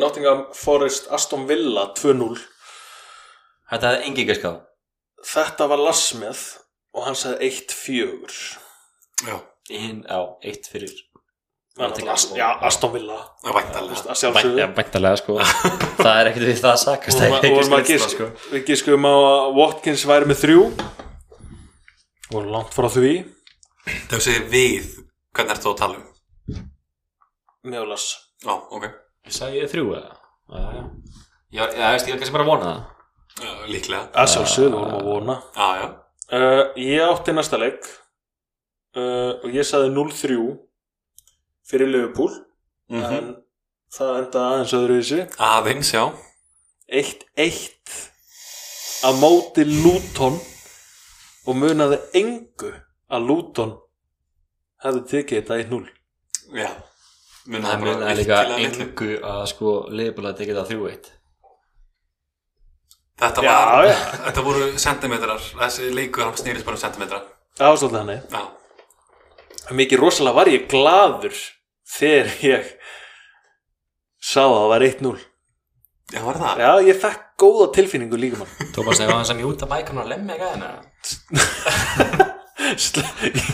A: Nottingham Forest Aston Villa 2-0
E: þetta hefði engi ekki skáð
A: Þetta var Larsmið og hann sagði 1-4
E: Já Hinn, já, eitt fyrir
A: Það er náttúrulega Ast- Já, Aston Villa Þú veist,
E: Væntalega
A: að
B: Bænt, ja,
A: sjálfsögðu
B: bæntalega sko það er ekkert við það að
A: Og
B: sakast það er
A: ma- og
B: ekkert
A: maður
B: við það
A: gisk-
B: sko
A: Við giskum á að Watkins væri með þrjú og langt frá því
E: Þau segir við, hvernig ertu að tala um?
A: með Lars
E: Já, ok
B: sagði ég þrjú eða Já, já.
E: Já, já, veist, ég er kannski bara að vona
B: Það.
E: það Líklega
A: að sjálfsögðu, við vorum að vona
E: Já, já
A: Uh, ég átti næsta leik uh, og ég saði 0-3 fyrir Liverpool
B: Mhm.
A: en það endaði aðeins öðruvísi
E: Aðeins, já
A: 1-1 á móti Luton og munaði engu að Luton hefði tekið þetta 1-0
E: Já Muna
B: það munaði líka engu að sko leifbúlega tekið það þrjú eitt
C: Þetta,
A: Já,
C: var,
A: já.
C: þetta voru sentimetrar, þessi leikur hann snerist bara um sentimetra.
A: það var svolítið hannig
C: Já,
A: mikið rosalega var ég gladur þegar ég sá að það var 1-0
C: já var það?
A: já ég fekk góða tilfinningu líka mann
E: Tómas, það var hans að mjúta bækan og lemja ekki aðeina
A: Sl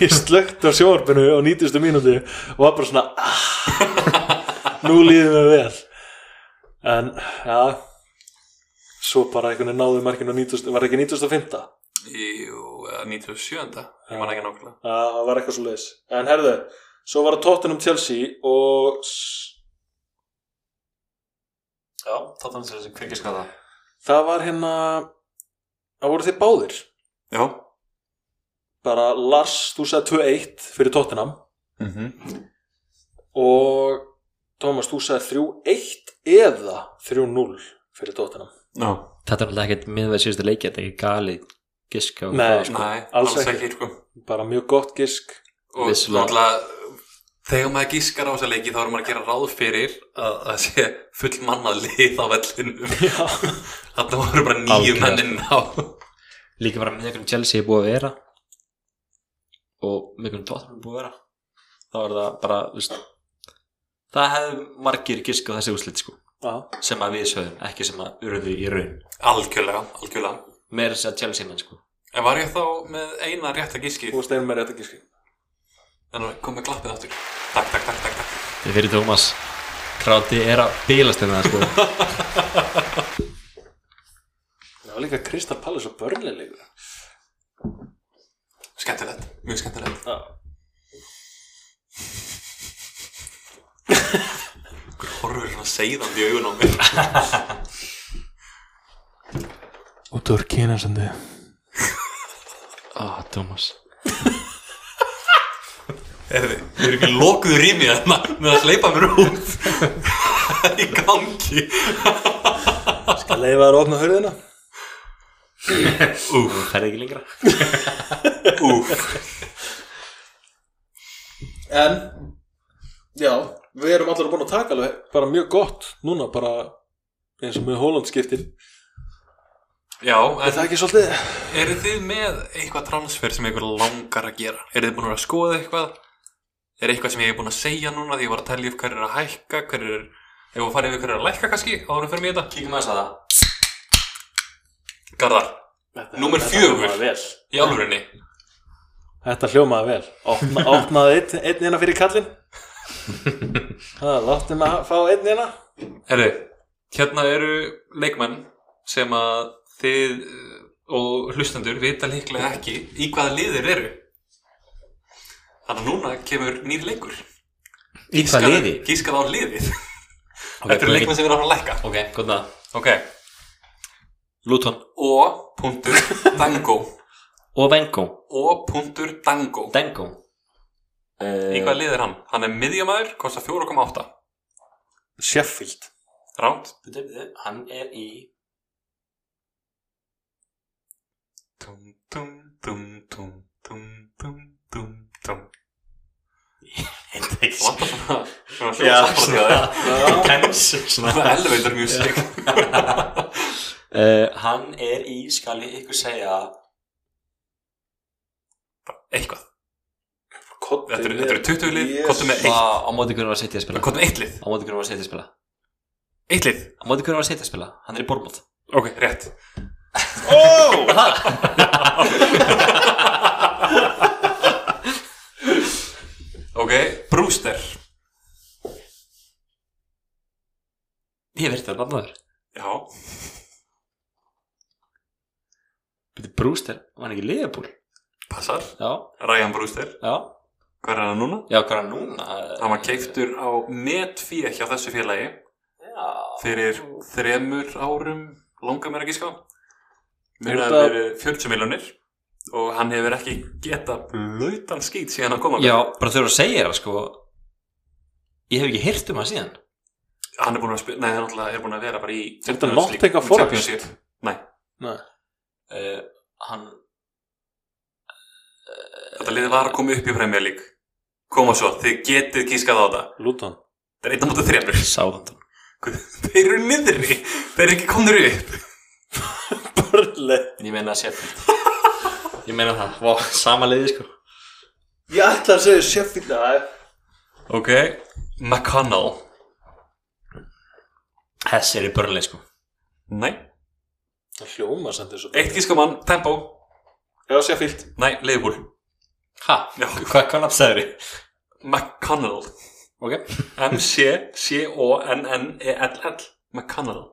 A: ég slögt á sjóarpinu á nýtustu mínúti og var bara svona ah, nú líðum við vel en ja svo bara einhvern veginn náðu markinu á nýtustu var það ekki nýtustu að fymta
C: Jú, eða 97. Ég man ekki nákvæmlega.
A: það var eitthvað svo leiðis en herðu, svo var það tóttunum Chelsea og s-
E: Já, tóttan sér þessi kveikir skáða
A: það var hérna það voru þið báðir
C: Já.
A: bara Lars, þú sagði 2-1 fyrir tóttunum
C: Mm -hmm.
A: Mhm. og Tómas, þú sagði 3-1 eða 3-0 fyrir tóttunum
C: Já.
B: þetta er náttúrulega ekkert miðvæð síðustu leiki þetta er ekki gali giska og
A: Nei.
B: hvað, sko.
C: Nei,
A: alls
C: alls,
A: ekki.
C: ekki, sko.
A: bara mjög gott gisk
C: Og
B: Vissulega.
C: náttúrulega, þegar maður gískar á þessa leiki þá er maður að gera ráð fyrir að það sé full mannað lið á vellinum.
A: Já.
C: Þetta voru bara nýju
B: Algjörlega.
C: mennin á.
B: líka bara með einhverjum Chelsea er búið að vera og með einhverjum Tottenham er búið að vera þá er það bara þú veist, það hefðu margir giska á þessi úslit sko,
A: Já.
B: sem að við sögum ekki sem að urðu í raun
C: Algjörlega, algjörlega.
B: meira þess að Chelsea menn sko
C: En var ég þá með eina rétta gíski?
A: Þú veist einum með rétt að gíski
C: En kom með klappið aftur. Takk, takk, takk, takk, takk.
B: þið fyrir Tómas kráti er að bílast um það sko
A: Það var líka Kristal Pallas og Börnleilegur
C: Skemmtilegt, mjög skemmtilegt. horfur svona seiðandi í augun á mér
A: Og Dörkina sem þið
B: ah Tómas
C: Erði, ég er ekki lokuð rými þarna með að hleypa mér út í gangi
A: Skal leifa þér að opna hörðina
B: það ferði ekki lengra
A: En Já, við erum allar búin að taka alveg bara mjög gott núna bara eins og með Hólandskiptin
C: Já,
A: Er
C: en
A: það ekki svolítið?
C: eru þið með eitthvað transfer sem ykkur langar að gera? Eru þið búin að vera að skoða eitthvað? Er eitthvað sem ég er búin að segja núna því ég var að telja upp hverju er að hækka, hverju er Ef við farið við hverju er að lækka kannski, áður fyrir mig þetta
E: Kíkum aðeins að það
C: Garðar,
A: Þetta-
C: Númer
A: þetta
C: fjögur.
A: hljómaði vel.
C: í alvörinni
A: Þetta hljómaði vel Opna, Opnaði einn, einn hérna fyrir kallinn Það láttum að fá einn hérna
C: Herri, hérna eru leikmenn sem að þið eh, og hlustendur vita líklega ekki í hvaða liðir eru. Þannig að núna kemur nýr leikur.
B: í hvað liði?
C: Gískað á liðið. Þetta eru leikmenn sem eru að fara að lækka.
B: ok, góðna
C: Ok.
B: Luton
C: Og punktur dango.
B: og Vengo
C: Og punktur dango.
B: Dengo
C: Í
B: Eh,
C: hvaða lið er hann? Hann er miðjamaður, kostar 4,8.
A: Sheffield
C: Ránt.
E: Bíddu, bíddu,
B: eh,
E: Hann er í
C: Tum, tum, tum, tum, tum, tum, tum, tum.
E: Hendriks
C: Vantar svona svona
F: Já,
C: svona samfélag
F: svona- Cancel svona.
C: Svona elevator music
B: uh,
F: Hann er í, skal ég ykkur segja bara eitthvað
A: Koddi
C: Þetta eru- þetta eru 20 lið, komdu með
B: Vá, á móti hvernig var að setja að spila
C: Hvað með eitt lið?
B: á móti hvernig var að setja að spila á
C: Eitt lið?
B: móti hvernig var að setja að spila hann er í Bormóð
C: Ok, rétt Ó! Ok, Brewster
B: ég verði það nafnaður
C: Já,
B: betur Brewster var hann ekki liðabúl
C: passar
B: já
C: Ryan Brewster,
B: já
C: hvað er hann núna?
B: já hvað er hann núna
C: Hann var keiftur á metfíi hjá þessu félagi
B: já
C: fyrir þremur árum langar mér ekki ská
A: Er
C: mér hefur
A: þetta-
C: verið 40 miljonir og hann hefur ekki geta blöytan skýt síðan að koma
B: já bara þau eru að segja það sko ég hef ekki heyrt um hann síðan
C: hann er búin að spila, nei hann náttúrulega er búin að vera bara í
A: Er þetta Nottingham
C: í
A: Forest?
C: Champions League. nei,
F: uh, Hann
C: þetta liði var að koma upp í Premier League koma svo, þið getið kískað á þetta
A: Lúton
C: það er einn á mútið þremur
B: sáðan
C: þeir eru niðri, þeir eru ekki komnir upp
A: Börle
F: Ég meina að setja Ég meina það, Vá, sama leiði sko
A: Ég ætla að segja Sheffield að
C: ok, McConnell
F: Hess er í börnleik sko
C: nei,
A: Það hljóma samt þessu
C: eitt kískamann, tempo
A: Já, Sheffield
C: nei, leiðbúl,
F: Ha?
C: Já.
F: Hvað hva nafnsæður þið?
C: McConnell
F: Ok
C: M-C-C-O-N-N-E-L-L E McConnell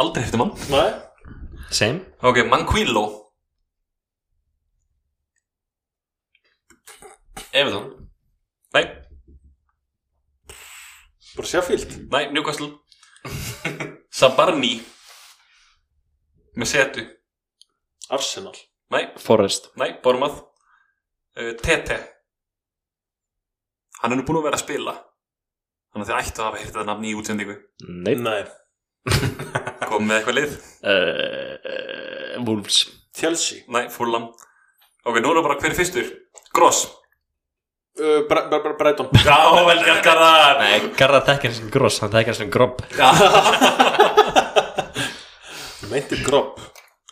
C: Aldrei hefði mann
A: Nei
B: same
C: Ok, Manquillo
F: Evertón
C: Nei,
A: Bara Sheffield
C: nei, Newcastle Sabarni Með setu
A: Arsenal
C: Nei,
B: Forrest
C: nei, Bormað uh, Tete Hann er nú búin að vera að spila Þannig að þið ættu að hafa hýrt þetta nafn í útsendingu
B: nei
A: Nei
C: Komum með eitthvað lið
B: uh, Wolves
A: Chelsea
C: Nei, Fulham Ok, nú er það bara hver er fyrstur Gross
A: uh, Bre- Bre- Bre- Brighton
C: Já, vel gert Garðar
B: Nei, Garðar þekkir hann sem gross, hann þekkir hann sem grobb
A: Meinti Grob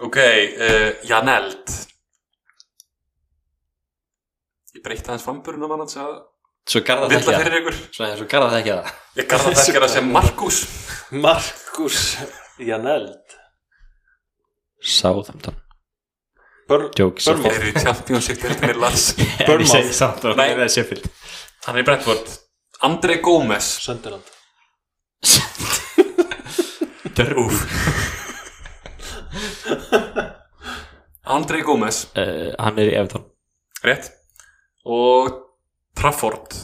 C: Ok, uh, Janeld Ég breyti aðeins framburunum hann að
B: Svo Garðar
C: vill
B: þekkir
C: að
B: það
C: fyrir ykkur
B: Svo, svo Garðar þekkir það
C: Ég garða þekkar það sem Markus
A: Markus Janeld
B: Southampton
A: Börn
B: Jók,
A: Bournemouth.
C: Er í Championship deildinni hérna Lars
A: Bournemouth.
B: Southampton,
C: Nei.
B: það er Sheffield
C: Hann er í Brentford Andrei Gómez
A: Sönderland
C: Úf Andrei Gómez
B: uh, Hann er í Everton
C: Rétt Og Trafford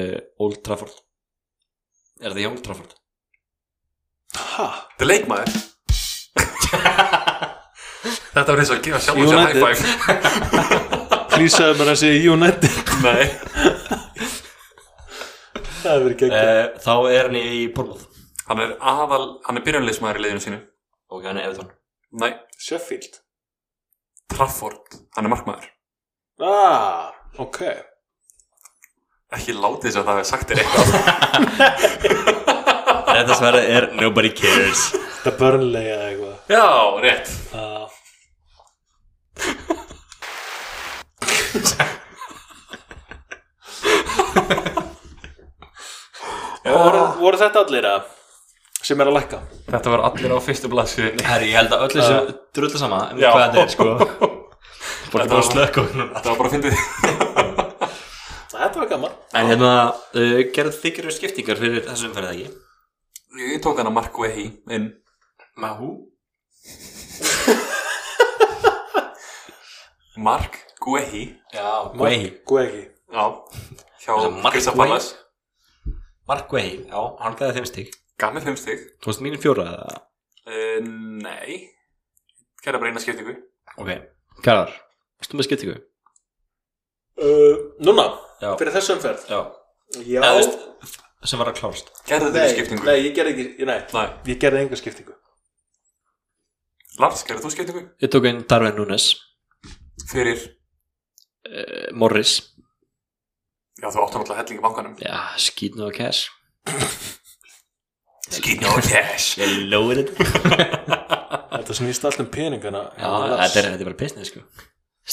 B: uh, Old Trafford Er það í Old Trafford?
A: Ha?
C: Þetta er leikmaður Þetta var eins og að gefa sjálf
A: United.
C: high five
A: Klísaði bara að segja United
C: Nei
A: Það hefur verið gegn
F: uh, Þá er hann í börnleik
C: Hann er aðal, hann er byrjunleismæður í liðinu sínu
F: Ok, hann er Evertón
C: Nei,
A: Sheffield
C: Trafford, hann er markmaður
A: Ah, ok
C: Ekki látið þess að það hefði sagt þér eitthvað
F: Þetta sverð Eh, er Nobody Cares
A: Það börnlega eða eitthvað
C: Já, rétt
A: Ah, voru, voru þetta allir að sem er að lækka
C: Þetta var allir á fyrstu blaðsíðinni
F: Herri, ég held að öllu sem uh, drullu sama um
C: Já.
F: hvað þetta er sko Bara
C: Þetta
F: bara
C: var-
F: slökk og núna
C: Þetta var bara að fyndið
A: Þetta var gaman
F: En hérna, uh, gerðu þykir skiptingar fyrir þessum umferðið ekki?
C: Ég tók hann að Mark Wehi inn
F: Mahú?
C: Mark Guehi
F: Já, Guehi
A: Mark Guegi
C: Já Hjá
F: Þessa Mark
C: Krista
F: Guehi.
C: Pallas
F: Mark Guehi, já, hann gæði þeim stík
C: Gaf mér fimm stig
B: Þú veist mínum fjóra eða?
C: uh, Nei Kæra bara eina skiptingu
F: Ok
B: Garðar, varstu með skiptingu?
A: uh, Núna,
F: Já.
A: fyrir þessu umferð
F: Já,
A: Já,
F: Eða, þú veist, sem var að klárast
C: Gerðu
A: nei,
C: þér skiptingu
A: nei, ég gerði ekki Nei,
C: Nei.
A: ég gerði enga skiptingu
C: Lars, gerðu þú skiptingu?
B: Ég tók einn Darwin Núnes eh,
C: Fyrir
B: uh, Morris
C: Já, þú áttu náttúrulega helling í bankanum.
B: Já, skýtna og cash
C: Skýt no cash.
B: Ég lóði þetta
A: Þetta snýst allt um peningana
B: Já, þetta er, þetta er bara business sko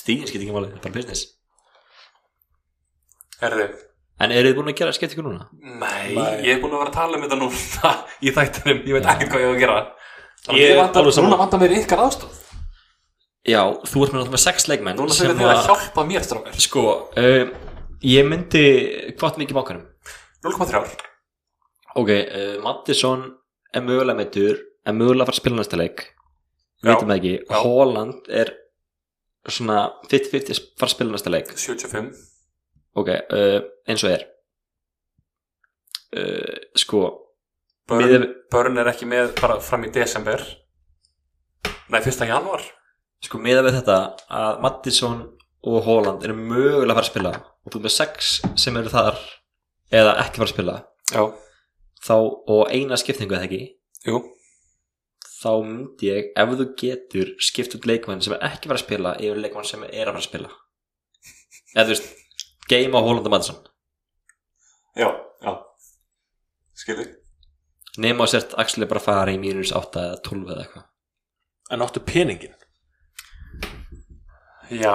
B: Stíðin skiptir ekki máli, þetta er bara business
C: Herðu,
B: En eru þið búin að gera skiptingu núna?
C: nei,
A: Nei.
C: ég er búin að vera að tala um þetta núna í þættinum. Ég veit ekkert hvað ég á að gera. Þannig
A: Ég
C: að
A: er
C: vantar-
A: alveg saman.
C: Núna vantar mér ykkar aðstof.
B: Já, þú ert með náttúrulega sex leikmenn
C: Núna
B: sem
C: þurfið þið að
B: að-
C: hjálpa mér, strákar.
B: Sko, um, ég myndi hvort mikið bankanum
C: 0,3.
B: Ok, uh, Mattisson er mögulega meittur er mögulega að fara að spila næsta leik
C: Já.
B: veitum það ekki,
C: Já.
B: Holland er svona 50-50 fara að spila næsta leik
C: 75.
B: ok, uh, eins og er uh, sko
C: Börn,
B: miðað-
C: börn er ekki með bara fram í desember. Nei, 1. januar.
B: sko miða við þetta að Mattisson og Holland eru mögulega að fara að spila og þú ert með sex sem eru þar eða ekki fara að spila
C: Já.
B: þá, og eina skiptingu eða ekki
C: Jú.
B: þá myndi ég ef þú getur skipt út leikmann sem er ekki fara að spila yfir leikmann sem er að fara að spila eða þú veist game á Holland og Mattisson
C: Já, já. Skilji.
B: nema og sért Axel bara að fara í mínus 8 eða 12 eða eitthvað
A: En áttu peningin
C: Já,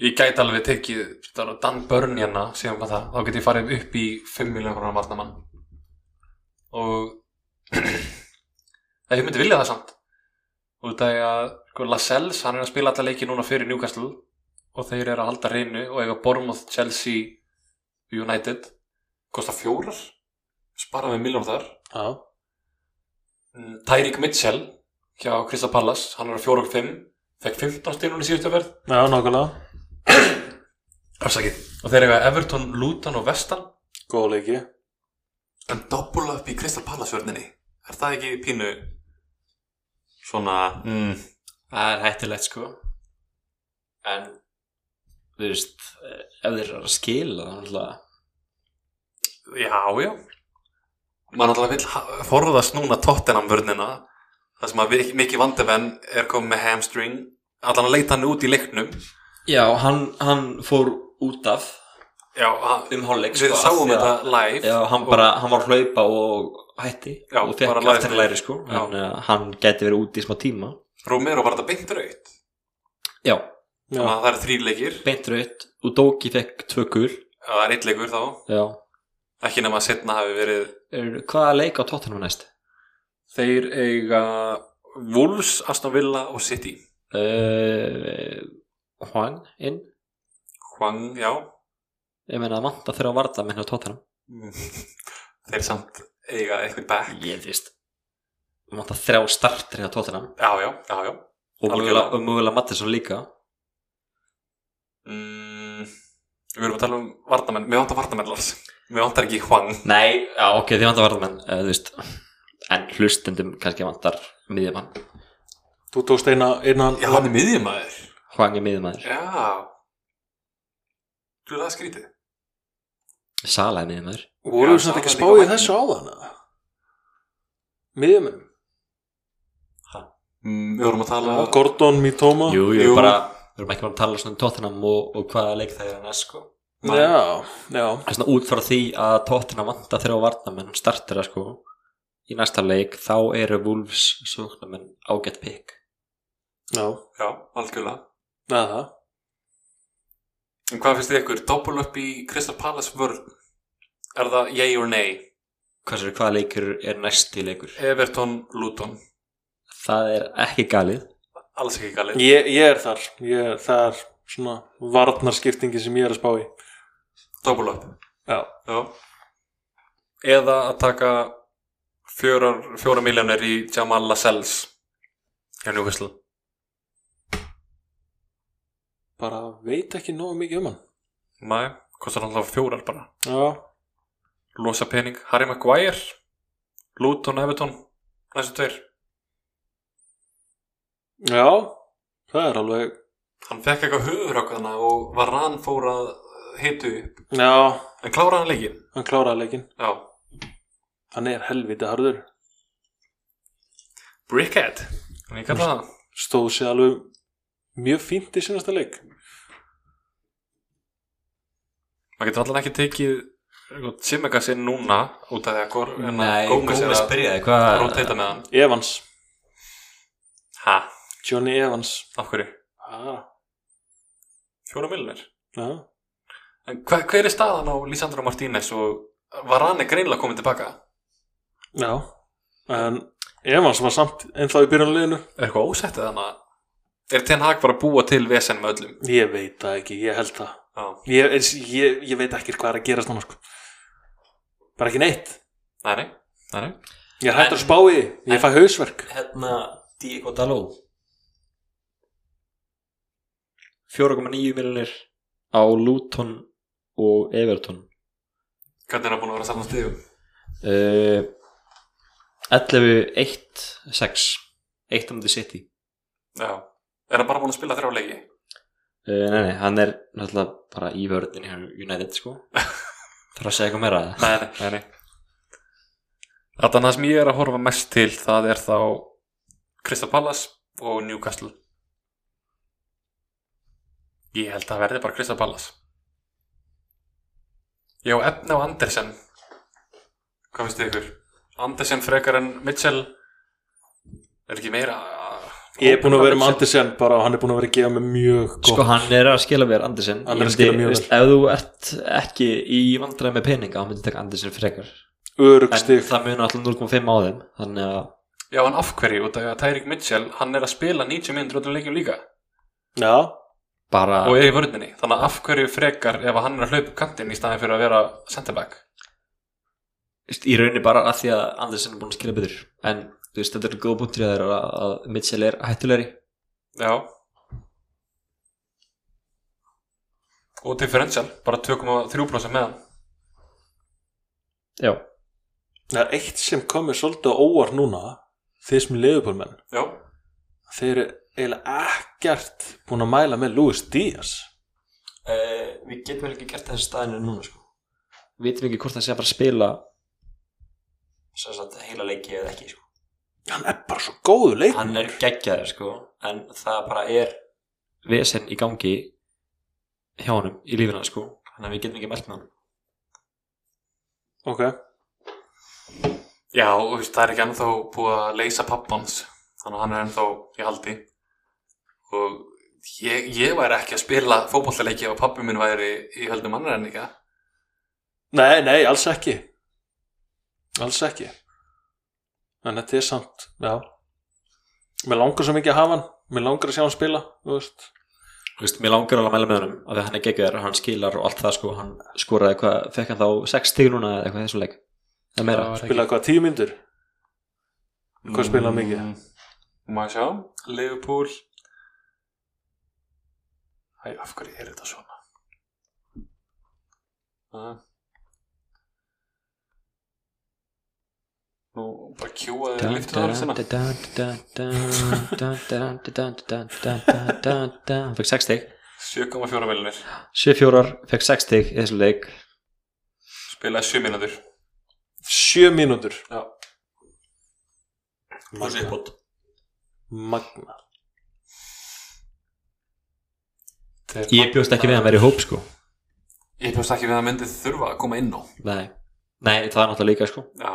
C: ég gæti alveg tekið bara Dan Burn hérna, segjum bara það, þá get ég farið upp í 5 miljonar krónar varnamann. Og Nei, ég myndi vilja það samt. Út af því að sko, Lascelles, hann er að spila alla leiki núna fyrir Newcastle og þeir eru að halda reynu og eiga Bournemouth, Chelsea, United. Kosta fjórar, sparaði við miljonar þar.
A: Já,
C: Mm, Tyreek Mitchell hjá Krista Pallas, hann er að fjóra og fimm, fekk 15 stíl núna í síðustu verð.
A: já nákvæmlega
C: Afsakið. Og þeir eiga Everton, Luton og Vestan.
A: Góð leiki
C: En doppula upp í Crystal Palace vörninni. Er það ekki pínu svona... Mm.
B: Það er hættilegt sko En Þú veist, eh, ef þeir eru að skila þá náttúrulega
C: Já, já. Man alltaf vill ha- forðast núna Tottenham vörnina. Það sem að Mikki Vandeven er komið með hamstring. Allan að leita hann út í leiknum.
B: Já, hann, hann fór út af
C: Já, hann,
B: um hálfleik
C: við sáum þetta live.
B: Já, hann bara, hann var að hlaupa og hætti
C: Já,
B: og fekk
C: bara lagði
B: aftur
C: sig.
B: að læri sko en uh, hann gæti verið úti í smá tíma
C: Romero var þetta beint raut.
B: Já,
A: Já.
C: Þannig að það eru þrý leikir.
B: beint raut og Dóki fekk tvö gul
C: Já, Það er eitt leikur þá.
B: Já
C: Ekki nema að setna hafi verið...
B: er, Hvaða leik á tóttunum er næst?
C: Þeir eiga Wolves, Aston Villa og City.
B: Uh, Hwang inn
C: Hwang, já
B: Ég meina að manta þurfa að varða minna á tóttunum
C: Þeir samt eiga eitthvað back
B: Ég veist Manta þrjá startri á tóttunum
C: Já, já, já, já
B: og
C: Algjörlega.
B: mögulega, og mögulega Mattisson líka
C: mm, Við erum að tala um varnamenn Mér vantar varnamenn, Lars Mér vantar ekki Hwang
B: Nei, já, ok, þið vantar varðamenn eh, þú veist, en hlustendum kannski vantar miðjumann
A: Þú tókst eina, einan
C: Já, hann er miðjumæður
B: Hwang er miðjumæður,
C: Já Þú er það skrítið
B: Sala er miðjumæður
A: Voru
C: Já,
A: við svona ekki að
C: Sala
A: spá í
C: líka
A: þessu áðan Miðjuminn
C: mm, Við vorum að tala
A: Gordon, Mitoma
B: Jú, jú,
C: Jú.
B: bara, við erum ekki bara að tala svona um Tottenham og, og hvaða leik það er að næst sko
C: Nei.
A: Já, já
B: Það er svona út frá því að Tottenham vantar þrjá varðamenn startera sko í næsta leik, þá eru Wolves sóknamenn ágætt pikk
A: Já,
C: Já, algjörlega
A: neða það
C: En hvað finnst þið ykkur? Doppul upp í Crystal Palace vörn Er það yay or nay?
B: Hvað er hvaða leikur er næsti leikur?
C: Everton, Luton
B: Það er ekki galið
C: Alls ekki galið
A: Ég, ég er þar, ég er þar svona varnarskiptingi sem ég er að spá í
C: Doppul upp
A: Já,
C: Já. Eða að taka fjórar, fjóra miljónir í Jamal Lascelles hjá Newcastle.
A: bara veit ekki nógu mikið um hann
C: Nei, kostar hann alltaf fjórar bara.
A: Já,
C: Losa pening. Harry Maguire, Luton, Everton, næstu tveir.
A: já það er alveg
C: Hann fekk eitthvað höfur á hana og var rann fór að hitu upp.
A: Já,
C: En kláraði hann leikinn?
A: hann kláraði leikinn
C: Já.
A: Hann er helviti harður
C: Brickhead. Ég kalla það.
A: Stóð sér alveg mjög fínt í sínasta leik
C: maður getur allan ekki tekið Simegas inn núna út af því að Gor- hérna,
D: Nei,
C: Gómez er
D: Gómez
C: að
D: byrjaði, hvað
C: roteita með hann
A: Evans,
C: ha,
A: Johnny Evans
C: af hverju?
A: ah,
C: Fjóra milnir
A: ja.
C: en hver, hver er staðan á Lisandro Martínez og var hann greinlega komin tilbaka
A: Já, en Evans var samt ennþá í byrjunleginu
C: er eitthvað ósættið hann að er Ten Hag bara að búa til vesen með öllum
A: Ég veit það ekki, ég held það
C: Já.
A: Ég, eins- ég, ég veit ekki hvað er að gerast núna sko. Bara ekki neitt
C: nei, nei, nei, nei.
A: Ég er hættur að spá í því, ég fæ hausverk
D: Hérna, Diego Daló
B: 4,9 miljonir á Luton og Everton
C: hvernig er hann búin að vera að safna stíðum
B: uh, 11 1 6 1 á múti City
C: Já. er hann bara búin að spila þrjá leiki
B: uh, Nei, nei, hann er náttúrulega bara í vörðin hjá United sko Þarf að segja eitthvað meira að
C: nei, nei, nei, nei. Þannig það sem ég er að horfa mest til það er þá Crystal Palace og Newcastle Ég held að það verði bara Crystal Palace Ég á efni á Andersen Hvað finnst þið ykkur? Andersen frekar en Mitchell Er ekki meira
A: Ég er búin að vera með Andersen bara og hann er búin að vera að gefa mig mjög gott
B: Sko hann er að skila mér Andersen
A: Hann
B: Ég
A: er að skila
B: myndi-
A: mjög
B: veist, Ef þú ert ekki í vandræði með peninga þá myndi taka Andersen frekar En
A: Örugstig
B: það muni alltaf 0,5 á þeim Þannig að
C: Já, en af hverju? Út af því að Tyrik Mitchell, hann er að spila 90 minnur öllum leikjum líka
A: Já,
B: bara
C: og er í vörninni þannig að af hverju frekar ef hann er að hlaupa upp kantinn í staðin fyrir að vera center back
B: veist, í rauninni bara af því að Andersen er búin að skila betur En þú veist, þetta er góð búntur að þeirra að Mitchell er hættulegri
C: já og differential bara 2,3% með hann
B: Já,
A: það er eitt sem komið svolítið á óvart núna þeir sem leðupólmenn
C: já,
A: þeir eru eiginlega ekkert búin að mæla með Luis
D: uh,
A: Díaz
B: Eh,
D: Við getum vel ekki gert þessi staðinu núna sko
B: vitum ekki hvort það sé að fara að spila
D: Svo að heila leiki eða ekki sko
A: hann er bara svo góðu leik
D: Hann er geggjaður sko En það bara er
B: vesen í gangi hjá honum í lífina sko þannig að við getum ekki mælt með hann
A: ok,
C: já og þú veist, það er ekki ennþá búið að leysa pappans þannig að hann er ennþá í haldi og ég, ég væri ekki að spila fótballleiki ef að pappi minn væri í höldum annar enn ekki
A: nei, nei, alls ekki alls ekki en þetta er samt já, mér langar svo mikið að hafa hann mér langar að sjá hann spila þú veist.
B: Þú veist, mér langar alveg að mæla með honum af því að hann er geggjör, hann skilar og allt það sko hann skoraði eitthvað, fekk hann þá 6 stíg núna eða eitthvað í þessum leik eða meira,
A: spilaði hvað, tíu myndur Hvað spilaði hann mikið?
C: Mm, Má ég sjá, Liverpool Æ, af hverju er þetta svona? Æ. Nú, bara kjúaði þér lyftu ára sinna
B: hann fekk 6 stíg
C: 7,4 miljonir
B: 7-4, fekk 6 stíg í þessum leik
C: Spilaði 7 mínútur
A: sjö mínútur
C: Já.
A: magna,
D: bótt
A: magna.
B: ég bjóst ekki við að vera í hóp sko
C: Ég bjóst ekki við að myndið þurfa að koma inn á
B: nei, nei það er náttúrulega líka sko
C: Já,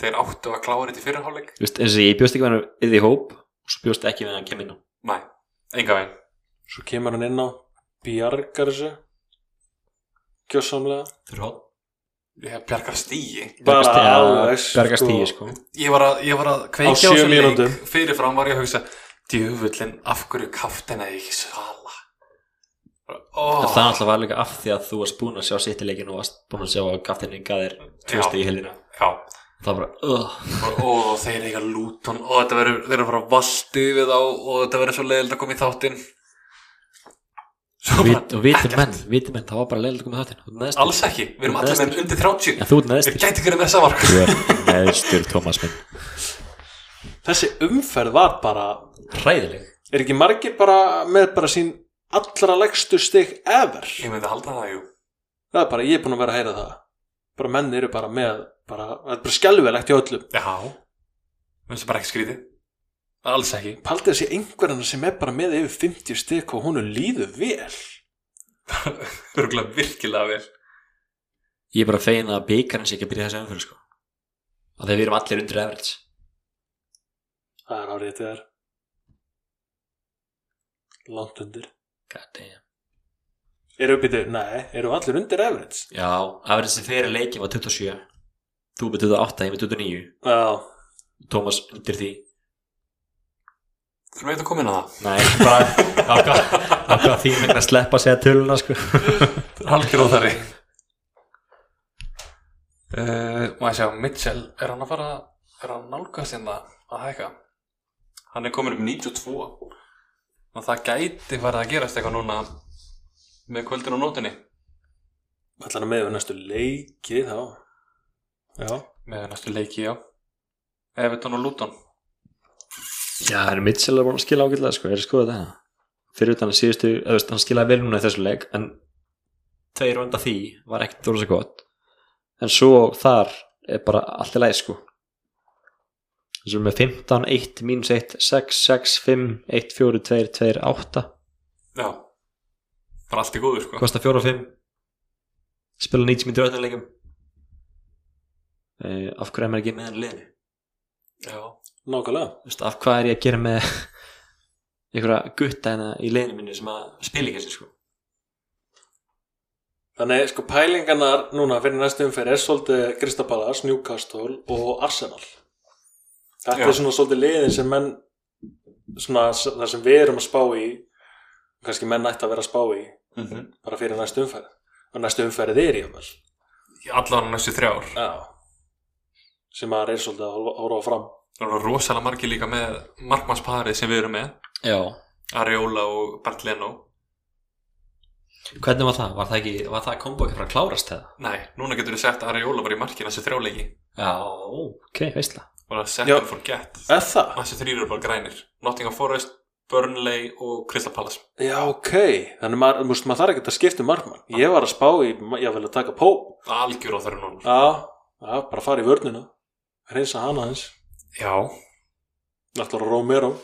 C: þeir áttu að klára þetta í fyrirháleik
B: Þú veist, eins og ég bjóst ekki við að vera í hóp og svo bjóst ekki við að hann kemur inn á
C: Nei, enga veginn
A: svo kemur hann inn á bjargar þessu gjössamlega
D: Fyrir hótt
C: Ég bjargar stíi
A: Bara
B: Bergast- ja,
A: alveg, sko.
B: bergast í sko
C: ég var að, ég var að kveikja á
A: sjö
C: þessum
A: mínútum.
C: leik fyrirfram var ég að hugsa djöfullin, af hverju kaftina ég ekki sala
B: En
C: oh,
B: það náttúrulega var líka af því að þú varst búin að sjá sittileikin og varst búin að sjá að gaftinni gaðir
C: Já.
B: tvösti í heldina
C: já,
B: það var bara, uh,
C: og, og þeir eiga lúton og þetta verður, þeir eru að fara að valdi við þá og þetta verður svo leiðild að koma í þáttinn svo bara,
B: vit, og vitir menn, vitir menn það var bara leiðilegt að koma í þáttinn, þú ert neðstur
C: alls ekki, við erum allir með undir 30
B: en þú ert
C: við
B: neðstur,
C: gæti hverju með samark
B: þú ert neðstur Thomas minn,
A: þessi umferð var bara
B: hræðileg
A: er ekki margir bara með bara sín allra leggstu stig ever
C: ég myndi halda það, jú
A: það er bara, ég er búin að vera að heyra það bara menn eru bara með bara, það er bara skelvilegt í öllum
C: já, minnst það bara ekki skrítið alls ekki
A: paldið þessi einhverjana sem er bara með yfir 50 stig og hún líður vel
C: örgulega virkilega vel
B: ég er bara fegin að byggarinn sé ekki að byrja þessi umfyrir sko að þegar við erum allir undir average
A: Það er árið þegar Langt undir
B: god damn
A: Eru uppið þau? Nei, eru allir undir average?
B: já, average sem fyrir leikin var 27 þú með 28, ég með 29
A: Já,
B: Tómas undir því
C: Þurfum við eitthvað að koma inn á það?
B: nei, bara það var hvað- það var hvað þín vegna að sleppa að segja töluna sko
G: Halkir á þarri
C: Eh,
G: Má ég sjá, Mitchell Er hann að fara Er hann nálgast hérna að hækka
C: Hann er komin upp í 92
G: Og það gæti farið að gerast eitthvað núna
C: með kvöldin og nótunni.
A: allan að meðu næstu leiki þá Já,
G: Með næstu leiki, já Everton og Luton
B: já, en Mitchell er búin að skila ágætlega sko, er skoðið það fyrir utan að síðustu, eða veist, hann skilaði vel núna í þessu leik en tveir undan því var ekkert þóra svo gott en svo þar er bara allt í læg sko þessum með 15, 1, mínus 1 6, 6, 5, 1, 4, 2, 2, 8
C: Já. Bara allt í góðu, sko.
B: kosta 4 og 5 spila 90 mínútur öðnum leikum uh, af hverju er maður ekki með hann í liðinu
C: Já.
A: nákvæmlega
B: Þú veist, af hvað er ég að gera með einhverja gutta hérna í liðinu mínu sem að spila ekki þessu sko
A: Þannig sko pælingarnar núna fyrir næstu umferð er svolítið Kristapalas, Newcastle og Arsenal Þetta
C: Já.
A: er svona svolítið liðin sem menn svona s- það sem við erum að spá í kannski menn ætti að vera að spá í
C: Mm
A: bara fyrir næstu umferð og næstu umferð er ég vel
C: Allan á næstu þrjár.
A: Já sem maður er svolítið að horfa- horfa fram
C: Það eru rosalega margir líka með markmannsparið sem við erum með.
B: Já
C: Areola og Bernd Leno.
B: Hvernig var það? Var það ekki, var það kombo ekki frá að klárast það?
C: Nei, núna getur þú sett að Areola var í markina þessi þrjáleiki.
B: Já, ok, veistla
C: Bara set
A: Já.
C: and forget.
A: Er það?
C: Þessi þrýr eru bara grænir. Nottingham Forest, Burnley og Crystal Palace.
A: Já, ok Þannig maður, þú veist, maður þarf ekki að skipta um markmann Ég var að spá í, ég vil að taka Pope
C: Algjör á þær núna.
A: Já, já, bara fara í vörnina reynsa hana hans
C: Já.
A: Náttúrulega Romero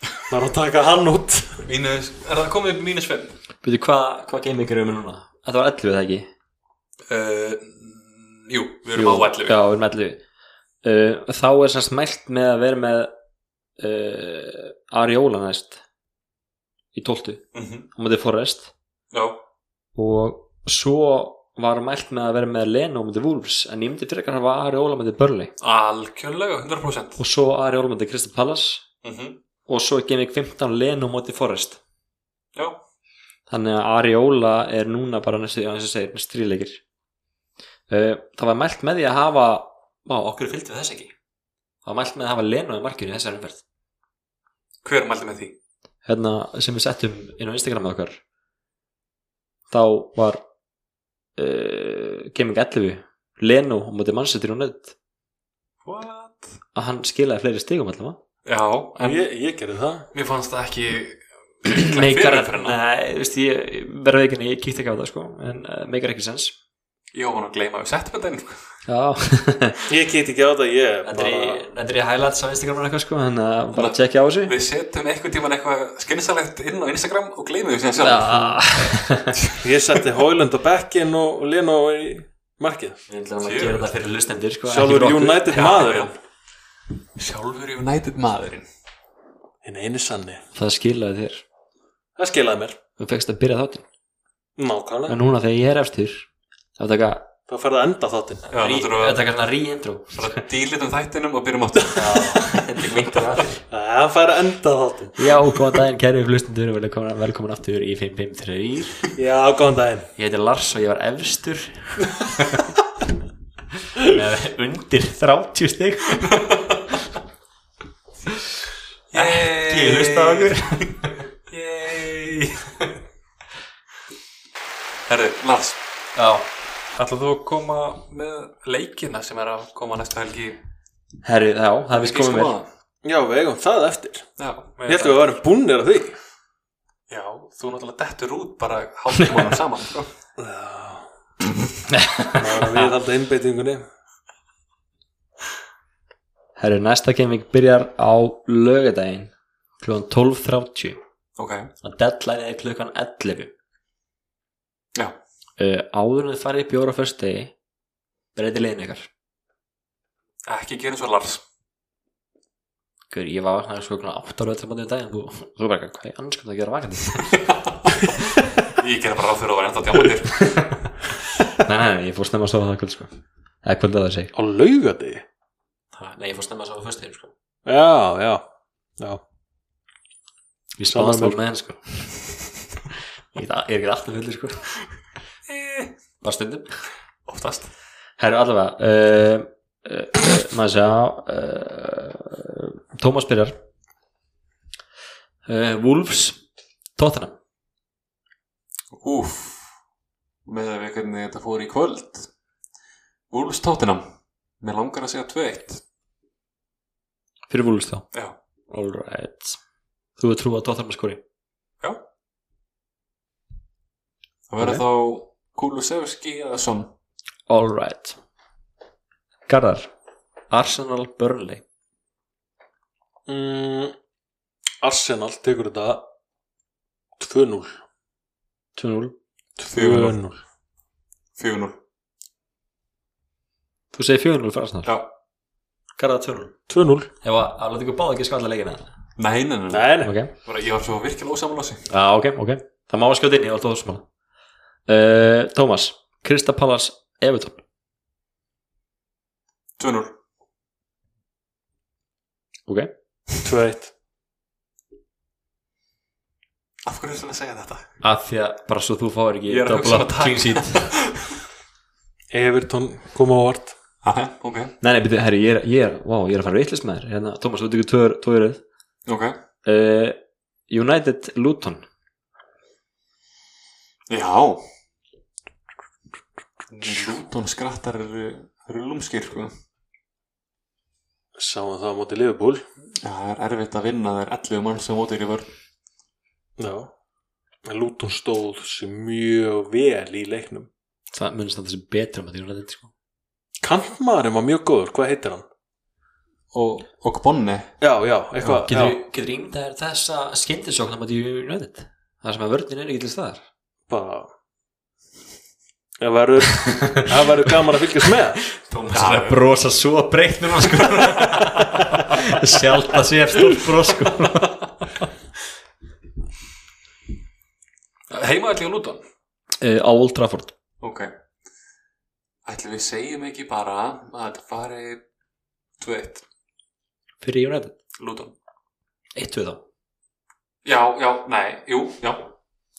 A: Það er að taka hann út
C: Mínus, er það komið upp í mínus 5?
B: Veitu, hvað hva game ykkur erum við núna? Þetta var 11 eða ekki?
C: Uh, jú, við erum á 11.
B: Já, við erum 11 uh, Þá er semst mælt með að vera með uh, Ariola næst í 12
C: Mhm.
B: á móti Forrest
C: Já.
B: og svo var mælt með að vera með Leno á móti Wolves en ég myndi frekar hafa Ariola á móti Burnley
C: Algjörlega, 100%.
B: og svo Ariola á móti Crystal Palace
C: Mm
B: og svo er game week 15 Leno á móti Forrest
C: Já.
B: Þannig að Ariola er núna bara næstu, já, eins og segir, næstu þrýleikir. Uh, það var mælt með því að hafa, vá, okkur fylgdi við þess ekki. Það var mælt með að hafa Leno í markinu í þessari umferð.
C: Hver mælti með því?
B: Hérna sem við settum inn á Instagramið okkar, þá var uh, Gaming 11, Leno á móti mannsettir og nödd,
C: What?
B: að hann skilaði fleiri stigum allavega.
C: Já, en
A: Ég, ég gerði það
C: mér fannst það ekki
B: Nei,
C: fyrir
B: gar-
C: umferðina.
B: nei, þú veist, ég verður ekki, ég kíkti ekki á það, sko, en uh, meikar ekki sens.
C: Ég var búin að gleyma að við settum þetta inn.
B: Já,
A: Ég get ekki á það, ég
B: Þetta er
A: bara
B: í- þetta er í highlights á Instagram eitthvað sko, þannig að bara tjekkja á þessu
C: Við setjum einhvern tíman eitthvað skynsalegt inn á Instagram og gleymum því sem sjálf.
B: Já.
A: Ég setti Hoylund á bekkin og Leno í markið
B: Við ætlum að gera þetta fyrir lustendur sko,
A: Sjálfur United
C: Já,
A: maðurinn
C: Sjálfur United maðurinn.
A: Hinn einu sanni
B: Það skilaði þér
A: Það skilaði mér
B: Þú fegst að byrja þáttinn
A: Nákvæmlega
B: En núna þegar ég er eftir þá er taka,
A: Þá fer það að enda þáttinn
C: Já,
B: rí,
C: þetta
B: að
C: er
B: taka svona re-intro
C: bara dýlitum þættinum og byrjum áttur.
A: Það fer að enda þáttinn
B: Já, góðan daginn kæri lustendur og velkomin, velkomin aftur í 553
A: Já, góðan daginn
B: Ég heiti Lars og ég var efstur með undir 30 stig Ég hlusta á okkur
C: Yey! Herðu, Lars,
B: Já
C: ætlaðu þú að koma með leikina sem er að koma næsta helgi?
B: Herri, já, það er við
C: Ekki
B: skoðum mér
C: skoða?
A: Já, við eigum það eftir
C: Já,
A: Ég held að við varum búnir af því
C: Já, þú náttúrulega dettur út bara hálftímanum saman sko.
A: Já Það var að við halda innbeitingunni
B: Herru, næsta gaming byrjar á lögadaginn klukkan 12.30
C: Ok,
B: og deadline er klukkan 11
C: Já.
B: Eh, uh, Áður en þið farið í bjóra fyrst degi breyti liðin ykkar
C: Ekki gera eins og Lars
B: Hver, ég var vaknaði sko svona 8 ára öllum bátum í daginn þú, þú bara, hvað ég annars kom það að gera vakandi
C: Ég gera bara ráð fyrir að vera enda djámatir
B: nei, nei, nei, ég fór snemma að sofa það kvöld sko eða kvöld að það seg
A: Á laugati?
H: Ha, Nei, ég fór snemma að sá á föstuðum sko
A: Já, já, já
B: ég
A: Sama
B: spáðast
A: mál.
B: alveg með henn sko ég get- ég er ekki alltaf fullir sko bara stundum
C: Oftast
B: herru, allavega uh, uh, uh, maður segja uh, Tómas byrjar uh, Wolves Tottenham
C: Úf Með að við hvernig þetta fór í kvöld Úlfs tóttinam Mér langar að segja 2-1
B: fyrir Wolves þá
C: Já
B: Alright. Þú hefur trúið að Tottenham skori
C: Það verður þá Kulusevski eða Son
B: Alright Garðar Arsenal Burnley
A: mm, Arsenal tekur þetta 2-0
B: 2-0
A: 2-0
C: 4-0
B: Þú segir 4-0 fyrir Arsenal
C: Já
B: Garðar 2-0
A: 2-0
B: Ef að að láta ykkur báða ekki skalla leikina
C: Nei, nei, nei, nei.
A: Nei, nei
B: Ok,
C: Bara, Ég var svo virkilega ósamálási
B: ah, ok, ok Það má að skjóta inn í alltaf þessum uh, Tómas Krista Pallas Everton
C: 2-0
B: Ok
A: 2-1
C: Af hverju er það að segja þetta?
B: Af því að bara svo þú fáir ekki
C: Ég er að hugsa um að taka.
B: clean sheet
A: Everton kom á vart
C: Aha, ok
B: Nei, nei, byrju, herri, ég er, ég er, wow, ég er að fara vitlis með þér hérna, Tómas, þú tekur 2-röð
C: Ok
B: uh, United Luton
C: Já Luton skrattar eru rullumskir sko.
A: Sáum það á móti Liverpool
C: Já, það er erfitt að vinna þær 11 mann sem mótir í vörn
A: Já En Luton stóð sér mjög vel í leiknum
B: Það munist að þessi betur um að því United sko
A: Kantmaðurinn var mjög góður, hvað heitir hann?
C: og, og Bonni
A: Já, já, eitthvað já,
B: Getur, getur ímyndað þér þessa skyndisókn á mæti United? Það sem að vörnin er ekki til staðar
A: bara Það verður Það verður gaman að fylgjast með
B: Það er brosa svo breytt núna sko Sjálft að sé eftir stórt bros sko
C: Heimaðalli og Luton
B: Eh, Á Old Trafford
C: Ok Ætli við segjum ekki bara að þetta fari 2-1
B: Fyrir United
C: Luton
B: 1-2 þá
C: Já, já, nei, jú, já,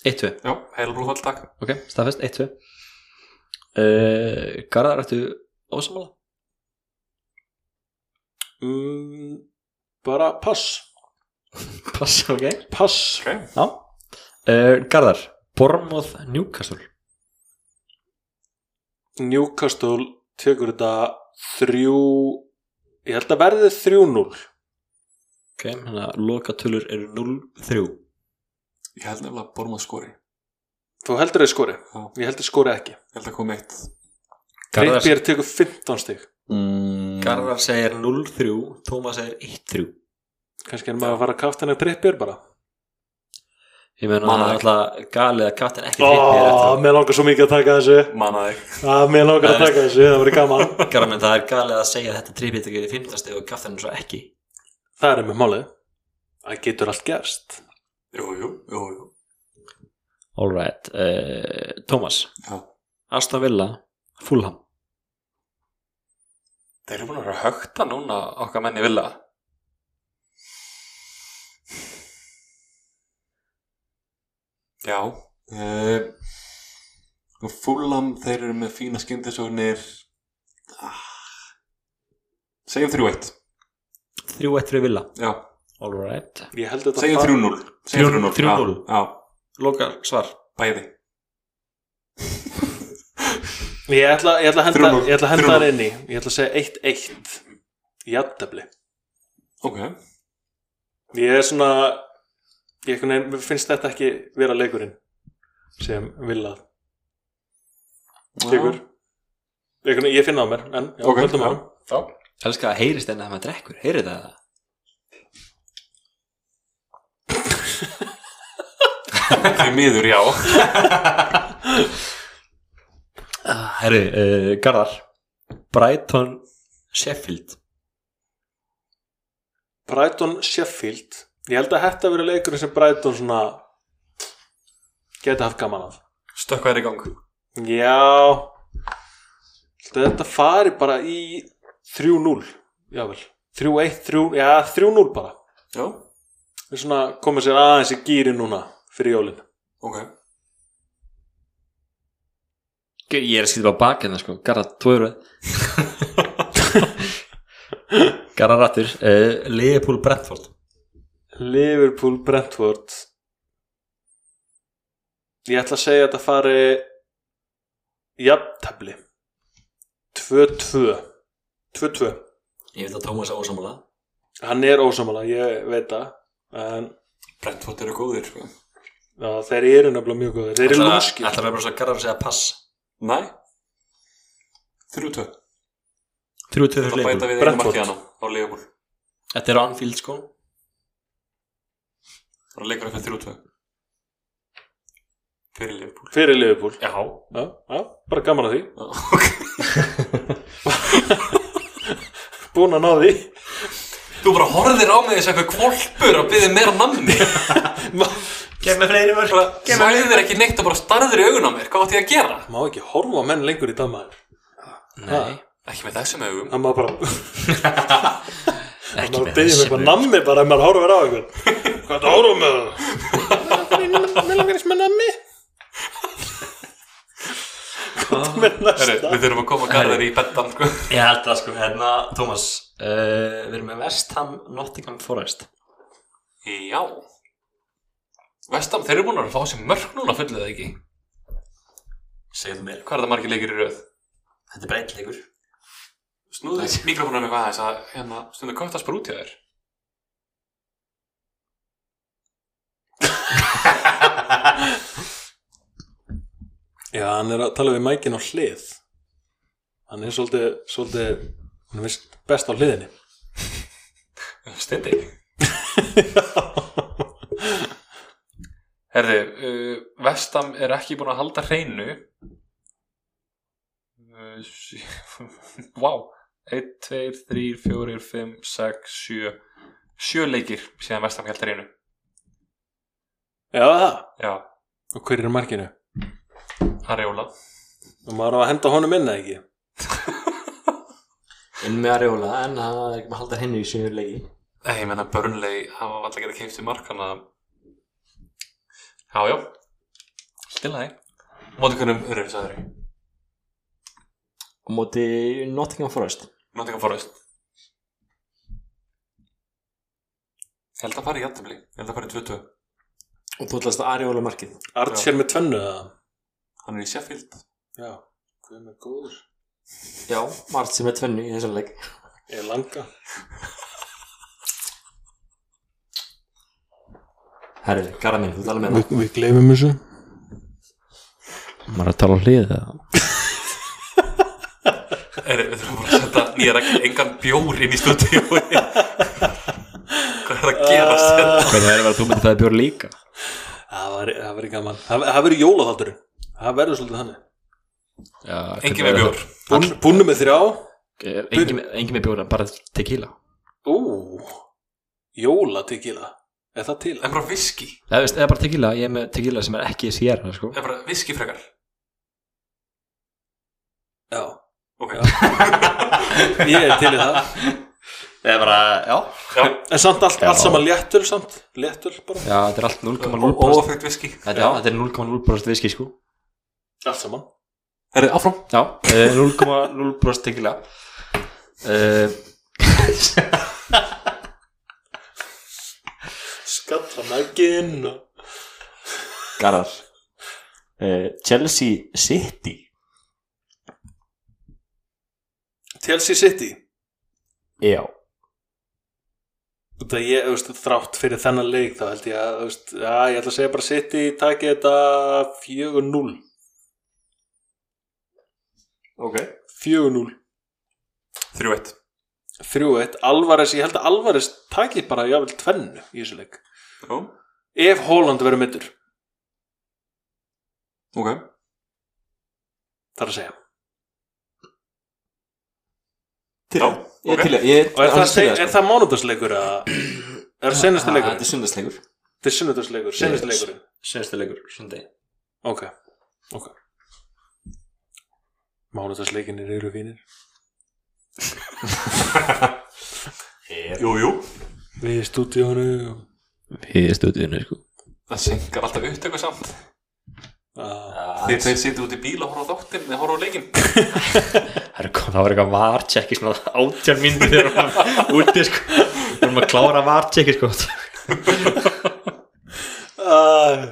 B: 1-2
C: já, heila blóðfald takk
B: Ok, staðfest 1-2 uh, Garðar, ættu ósamála?
A: mm, Bara pass
B: Pass, ok
A: Pass
C: Ok.
B: Já uh, Garðar, Bormoth Newcastle
A: Newcastle tekur þetta þrjú ég held að verði 3-0
B: Ok, þannig að lokatölur eru 0-3
C: Ég held nefnilega að Bormað skori Ég
A: þú heldur þau skori,
C: Já.
A: ég heldur skori ekki
C: held að koma eitt
B: Garðar-
A: Trippier tekur 15 stig
C: mm.
B: Garðar segir 0-3 Tómas segir 1-3
A: kannski er maður að fara að kafta hennar Trippier bara
B: Ég meina
C: Man
B: það er
C: að-
B: alltaf galið að kattin ekki trippir
A: Ó,
B: eftir
A: mér langar svo mikið að taka þessu
C: Mannaði
A: ah, mér langar að taka þessu, það verður gaman
B: að Garðar menn það er galið að segja að þetta trippir tekið í 15 steg og kattin svo ekki
A: það er með málið það getur allt gerst
C: Jú, jú, jú, jú
B: Alright, uh, Thomas
C: Já.
B: Aston Villa, Fulham
C: Þeir eru búin að vera að högta núna okkar menni vilja. Já. Uh, Fúlam, þeir eru með fína skyndisóknir. Ah. Segjum 3-1.
B: 3-1 fyrir Villa
C: Já.
B: Alright,
A: ég held að
C: Segjum
A: þetta
C: 3-0. Segjum 3-0.
B: 3-0.
C: Já, já,
B: loka svar
C: bæði.
A: ég ætla, ég ætla að henda,
C: 3-0.
A: ég ætla að henda
C: 3-0.
A: það inn í ég ætla að segja 1-1 jættabli
C: Ok.
A: ég er svona ég einhvern veginn, mér finnst þetta ekki vera leikurinn sem vil að tekur einhvern veginn, ég finna á mér en, já,
C: Ok,
A: höldum
C: já.
A: áfram.
C: Já.
B: Elskar að heyrist
I: hérna
B: enn að maður drekkur, heyrið það?
C: Því miður, já.
B: Herri, uh, Ah, eh, Garðar Brighton Sheffield
A: Brighton Sheffield ég held að þetta verið leikurinn sem Brighton svona geti haft gaman af
C: Stökkvæðir í gang
A: já þetta fari bara í 3-0 jável 3-1, 3, já 3-0 bara
C: Já,
A: við svona komum sér aðeins í gýri núna fyrir jólin
C: ok
B: Ég er að skýta bara bak hérna sko Garra tvöru Garra rattur uh, Leopold Brentford
A: Liverpool Brentford ég ætla að segja að þetta fari jafntabli 2-2 2-2
I: Ég veit að Tómas ásamála
A: hann er ósamála, ég veit það en
C: Brentford eru góðir sko.
A: já, þeir eru nefnilega mjög góðir þeir eru lúmskir
I: Ætlar að vera svo garrar að segja pass
C: Nei Þrjú tvö Það
B: 3-2 fyrir
C: bæta
B: Leopold
C: við einu
A: Brentford.
C: markið hana á Leopold
B: Þetta er Anfield sko
C: Það er leikur eftir þrjú tvö Fyrir Leopold
A: fyrir Liverpool
C: Já
A: já, já, bara gaman að því
C: Ok
A: búin að ná því
C: Þú bara horfðir á mig þessi eitthvað kvolpur og byrðið meira um namni
I: Gef mig fleiri mörg
C: Sæði þér ekki neitt og bara starðir í augun á mér Hvað átti ég að gera?
A: má ekki horfa á menn lengur í dag maður nei
C: Ekki með þessum augum
A: hann maður bara
B: Ekki
A: maður byrjum eitthvað nammi bara ef maður horfir á eitthvað hvað er það horfum með það mér langar eins með nammi hvað er með
C: Herru,
A: næsta
C: Við þurfum að koma garðar í bettan sko.
I: Ég held það sko, hérna Tómas uh, Við erum með West Ham Nottingham Forest
C: Já Vestam, þeir eru búin að fá sér mörg núna fullið það ekki
I: Segðu mér
C: Hvað er það margir leikir í röð?
I: Þetta er breytt leikur
C: Snúðu mikrofónum eitthvað aðeins að hérna stundu kött að sprúti þér
A: já hann er að tala við mækin á hlið hann er svolítið svolítið hann er vist best á hliðinni
C: Stundi Herði, uh, Vestam er ekki búin að halda hreinu Uh, sjö- Vá 1, 2, 3, 4, 5, 6, 7 7 leikir síðan Vestam held hreinu
A: já það
C: Já,
A: og hver er í markinu
C: Harry Óla
A: og maður á að henda honum inn eða ekki
I: Inn með Arjóla en það er ekki með að halda henni í sjöður leiki
C: Nei, ég menna Burnley hafa alltaf getað keift í markana Já, já Stilla þig Móti hvernig um öðru, sagði þau
I: Á móti Nottingham Forest
C: Nottingham Forest Ég held að fara í jættabli Ég held að fara í 22
I: Og þú ætlast að Arjóla markið
A: Arts er með tvennu eða
C: Hann er í Sheffield
A: já hvað er með góður
I: Já, margt sem er tvennu í þessum leik
A: ég er langa
I: Herri, garra minn, þú tala með
A: við gleymum þessu
B: Maður er að tala á hlið eða
C: Er, við þurfum bara að setja nýja regl engan bjór inn í stúdíu Hvað er að
A: Ah.
C: gerast þetta?
B: Hvernig er að vera þú myndi fæði bjór líka
A: það væri- það verður gaman það það verður jólaþátturinn það verður svolítið þannig
B: Já,
C: Engin með bjór
A: Bún, búnum með þrjá
B: Engin, engin Eh, með bjóra, bara tequila
A: Ú, jóla tequila Er það til?
C: En bara viski
B: eða, veist, eða bara tequila, ég er með tequila sem er ekki sér sko.
C: En bara viski frekar
A: Já,
C: Ok
A: ég er til í það
I: Það er bara, Eh, já
A: En samt allt, allt saman léttul samt Léttul bara,
B: Já, þetta er allt 0,0%
C: Ófengt viski
B: Þetta, já, þetta er 0,0% viski sko
A: allt saman
C: Herri, áfram
B: Já, eh, 0,0% tequila
I: Eh,
B: uh,
A: Skalla mækin og...
I: Garðar uh, Chelsea City
A: Chelsea City
I: Já
A: Það ég, þú veist, þrátt fyrir þennan leik þá held ég að, þú veist, já, ég ætla að segja bara City taki þetta 4-0
I: Ok
A: 4-0
C: Þrjú eitt
A: 3-1, Alvarez, ég held að Alvarez taki bara jáfnvel tvennu í þessu leik
C: Já,
A: Ef Holland verður meittur,
C: ok
A: þar að segja
B: til Ég er
C: Já, ok.
B: til í- ég
A: Og er það,
B: alveg til í
A: se-
B: það,
A: er það mánudagsleikur að Er
I: Ah,
A: senasti
B: sko.
A: leikurinn?
B: Þetta er sundarsleikur
A: Þetta er sunnudagsleikur, senasti leikurinn
J: Sjöðustu leikur, sundi
A: Ok, ok Mánudagsleikinir eru fínir
C: Jú, jú
A: Við í stúdíónu
B: Við stöðunum sko
C: Það syngar alltaf upptöku samt
A: ah.
C: Þeir þeir sitja út í bíl og horfa á þáttinn Þeir horfa á leikinn
B: Herru, kom, það var eitthvað vartjekki svona átján mínútur þegar við varum úti sko við varum að klára vartjekki sko
A: ah.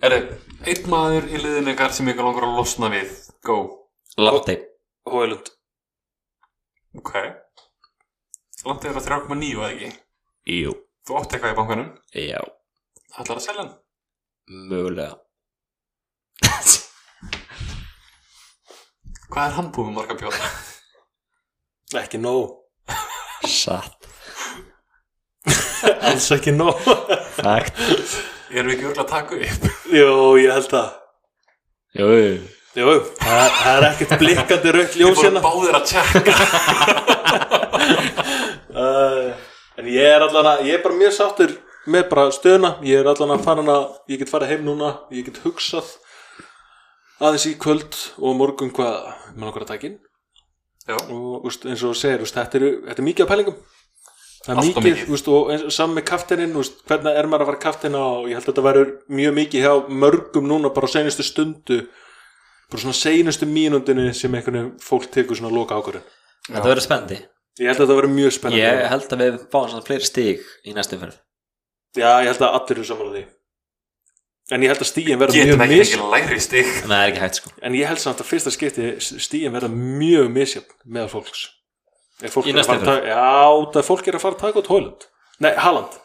C: Er einn maður í liðinu ykkar sem ykkur langar að losna við Go
B: Latte
A: Hóilund
C: Ok Landið er að 3,9 eða ekki
B: Jú,
C: Þú átt eitthvað í bankanum
B: já,
C: Ætlar að selja hann
B: mögulega
C: Hvað er hann búið með marga bjóða?
A: Ekki nóg
B: Satt
A: Alls ekki nóg
B: Fakt
C: Erum við ekki örgulega að taka upp?
A: Jó, ég held að
B: Jú, jú.
A: Jú, það, það er ekkert blikkandi raukt
C: Við
A: ljós
C: vorum
A: hérna
C: báðir að tjekka
A: uh, En ég er allan að, ég er bara mjög sáttur með bara stöðuna Ég er allan að fara að, ég get farið heim núna Ég get hugsað aðeins í kvöld og á morgun hvað með nokkra daginn
C: Já.
A: og úst, eins og þú segir, úst, þetta, er, þetta er mikið af pælingum það er
C: Allt of
A: mikið,
C: mikið.
A: Úst, og eins, saman með kaftininn úst, hvernig er maður að fara kaftina og ég held að þetta verður mjög mikið hjá mörgum núna bara á seinustu stundu bara svona seinustu mínundinu sem einhvern veginn fólk tekur svona loka ákvörðin
B: Þetta verður spendi
A: ég held að þetta verður mjög spennandi
B: Ég held að við fáum svona fleiri stig í næstu fyrir
A: Já, ég held að allir eru saman að því En ég held að stíin verða mjög
C: Getum ekki
A: mis
C: ekki læri stig
B: En það er ekki hægt sko
A: En ég held samt að fyrsta skipti stíin verða mjög misjöfn með fólks Ef fólk
B: Í
A: er að
B: næstu
A: fara að taka- Já, það fólk er að fara að taka út Hóland Nei, Haaland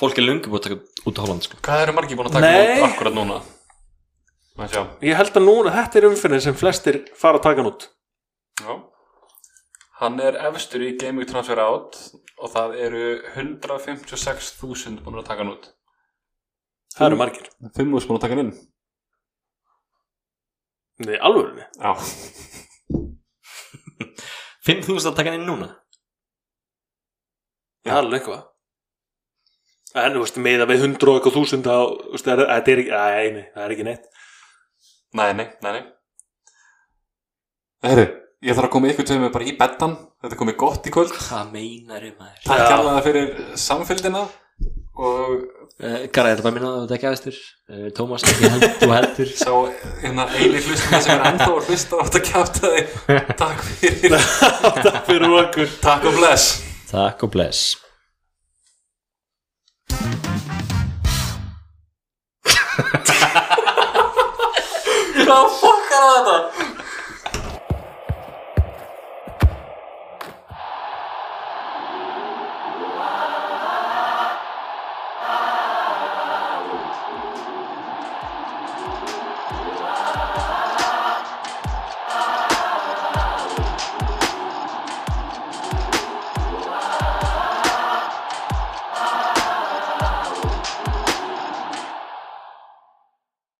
B: Fólk er lungi búið að taka út á Holland sko
C: Hvað eru margi búin að taka
A: Nei.
C: út akkurat núna? Má sjá
A: Ég held að núna þetta er umfinni sem flestir fara að taka hann út
C: Já. Hann er efstur í Gaming Transfer Out og það eru 156.000 búin að taka hann út
A: Það eru margir
C: 5.000 búin að taka hann inn
A: Nei, alvörinni
C: Já,
B: 5.000 að taka hann inn núna
A: Það er alveg eitthvað En, þú veist, meða við hundru og eitthvað þúsund þá, þú veist, það er- þetta er ekki, æ, nei, það er ekki neitt
C: nei, nei, nei, nei. Herru, ég þarf að koma ykkur tveimur bara í bettan Þetta er komið gott í kvöld
B: Hvað meinar um maður?
C: Takk
A: Já.
C: hérlega fyrir samfélgina og
B: Uh, Garðar, þetta er bara minna að þetta er ekki aðeistur uh, Tómas, ekki held, þú heldur
C: sá hérna eini hlustum sem er ennþá að hlusta á þetta kjátaði Takk fyrir,
A: Takk fyrir okkur
C: takk og bless
B: Takk og bless
C: Hvað fokkar var þetta?